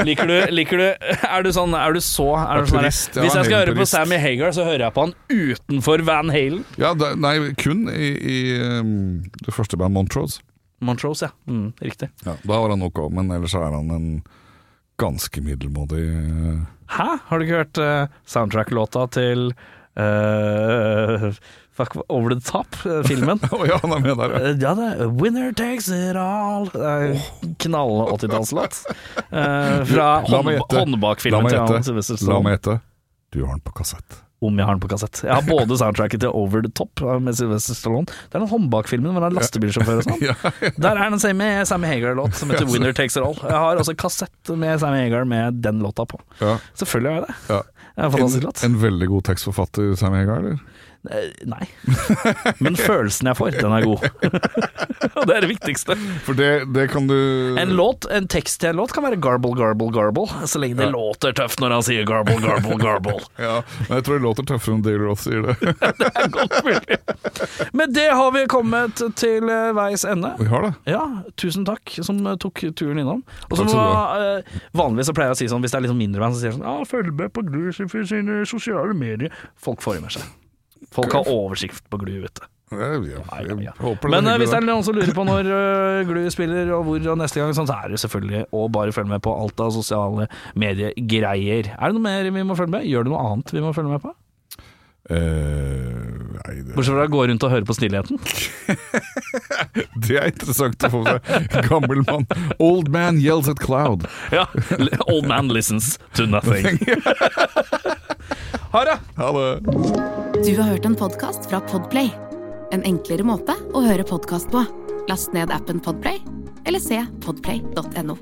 Speaker 3: Liker du, liker du Er du sånn Er du så er du
Speaker 2: Ja,
Speaker 3: sånn, der,
Speaker 2: purist, ja,
Speaker 3: Hvis jeg skal
Speaker 2: en
Speaker 3: høre på
Speaker 2: purist.
Speaker 3: Sammy Hagar, så hører jeg på han utenfor Van Halen.
Speaker 2: Ja, da, nei, kun i, i um, det første bandet, Montrose.
Speaker 1: Montrose, ja. Mm, riktig.
Speaker 2: Ja, da var han ok, men ellers så er han en ganske middelmådig eh,
Speaker 1: Hæ? Har du ikke hørt eh, soundtrack-låta til eh, Fuck, Over the Top-filmen?
Speaker 2: Å ja, han er med der, ja.
Speaker 1: Eh, Ja, det er Winner takes it all. Det er en Knall 80-tallslåt. Eh, fra
Speaker 2: La
Speaker 1: hånd
Speaker 2: meg gjette. La
Speaker 1: håndbakfilmen
Speaker 2: meg
Speaker 1: til han
Speaker 2: gjette.
Speaker 1: Sylvester
Speaker 2: La
Speaker 1: Stallone.
Speaker 2: meg gjette. Du har den på kassett.
Speaker 1: Om jeg har den på kassett. Jeg har både soundtracket til Over the Top med Sylvester Stallone. Det er den håndbakfilmen hvor han er lastebilsjåfør og sånn.
Speaker 2: Ja,
Speaker 1: Der er den samme Sammy Hagar-låt som heter Winner takes it all. Jeg har også kassett med Sammy Hagar med den låta på.
Speaker 2: ja,
Speaker 1: Selvfølgelig har jeg det.
Speaker 2: ja.
Speaker 1: Det er en
Speaker 2: En,
Speaker 1: fantastisk låt.
Speaker 2: en veldig god tekstforfatter, Sammy Hagar, eller?
Speaker 1: Eh, Nei. Men følelsen jeg får, den er god. Og det er det viktigste.
Speaker 2: For det, det kan du
Speaker 1: En låt, en tekst til en låt kan være garble, garble, garble, så lenge det låter tøft når han sier garble, garble, garble.
Speaker 2: Ja, men jeg tror det låter tøffere enn Dale Roth sier det.
Speaker 1: Det er godt mulig. Med det har vi kommet til eh, veis ende.
Speaker 2: Vi har det.
Speaker 1: Ja, tusen takk som eh, tok turen innom. Og så må,
Speaker 2: Takk skal du
Speaker 1: eh, Vanligvis så pleier jeg å si sånn, hvis det er liksom mindre band, så sier jeg sånn Ja, følg med på Glu sin- sine sosiale medier. Folk får med seg. Folk har oversikt på Glu, vet du.
Speaker 2: Jeg, jeg, jeg,
Speaker 1: ja.
Speaker 2: håper
Speaker 1: Men eh,
Speaker 2: hyggelig,
Speaker 1: hvis det
Speaker 2: da.
Speaker 1: er noen som lurer på når eh, Glu spiller og hvor og neste gang, sånn, så er det jo selvfølgelig å bare følge med på alt av sosiale mediegreier. Er det noe mer vi må følge med? Gjør det noe annet vi må følge med på?
Speaker 2: Eh, nei, det,
Speaker 1: Bortsett fra å gå rundt og høre på Snillheten.
Speaker 2: det er interessant å få med seg. Gammel mann. Old man yells at cloud.
Speaker 3: Ja. Old man listens to nothing.
Speaker 1: Ha det!
Speaker 2: Ha det.
Speaker 4: Du har hørt en podkast fra Podplay. En enklere måte å høre podkast på. Last ned appen Podplay, eller se podplay.no.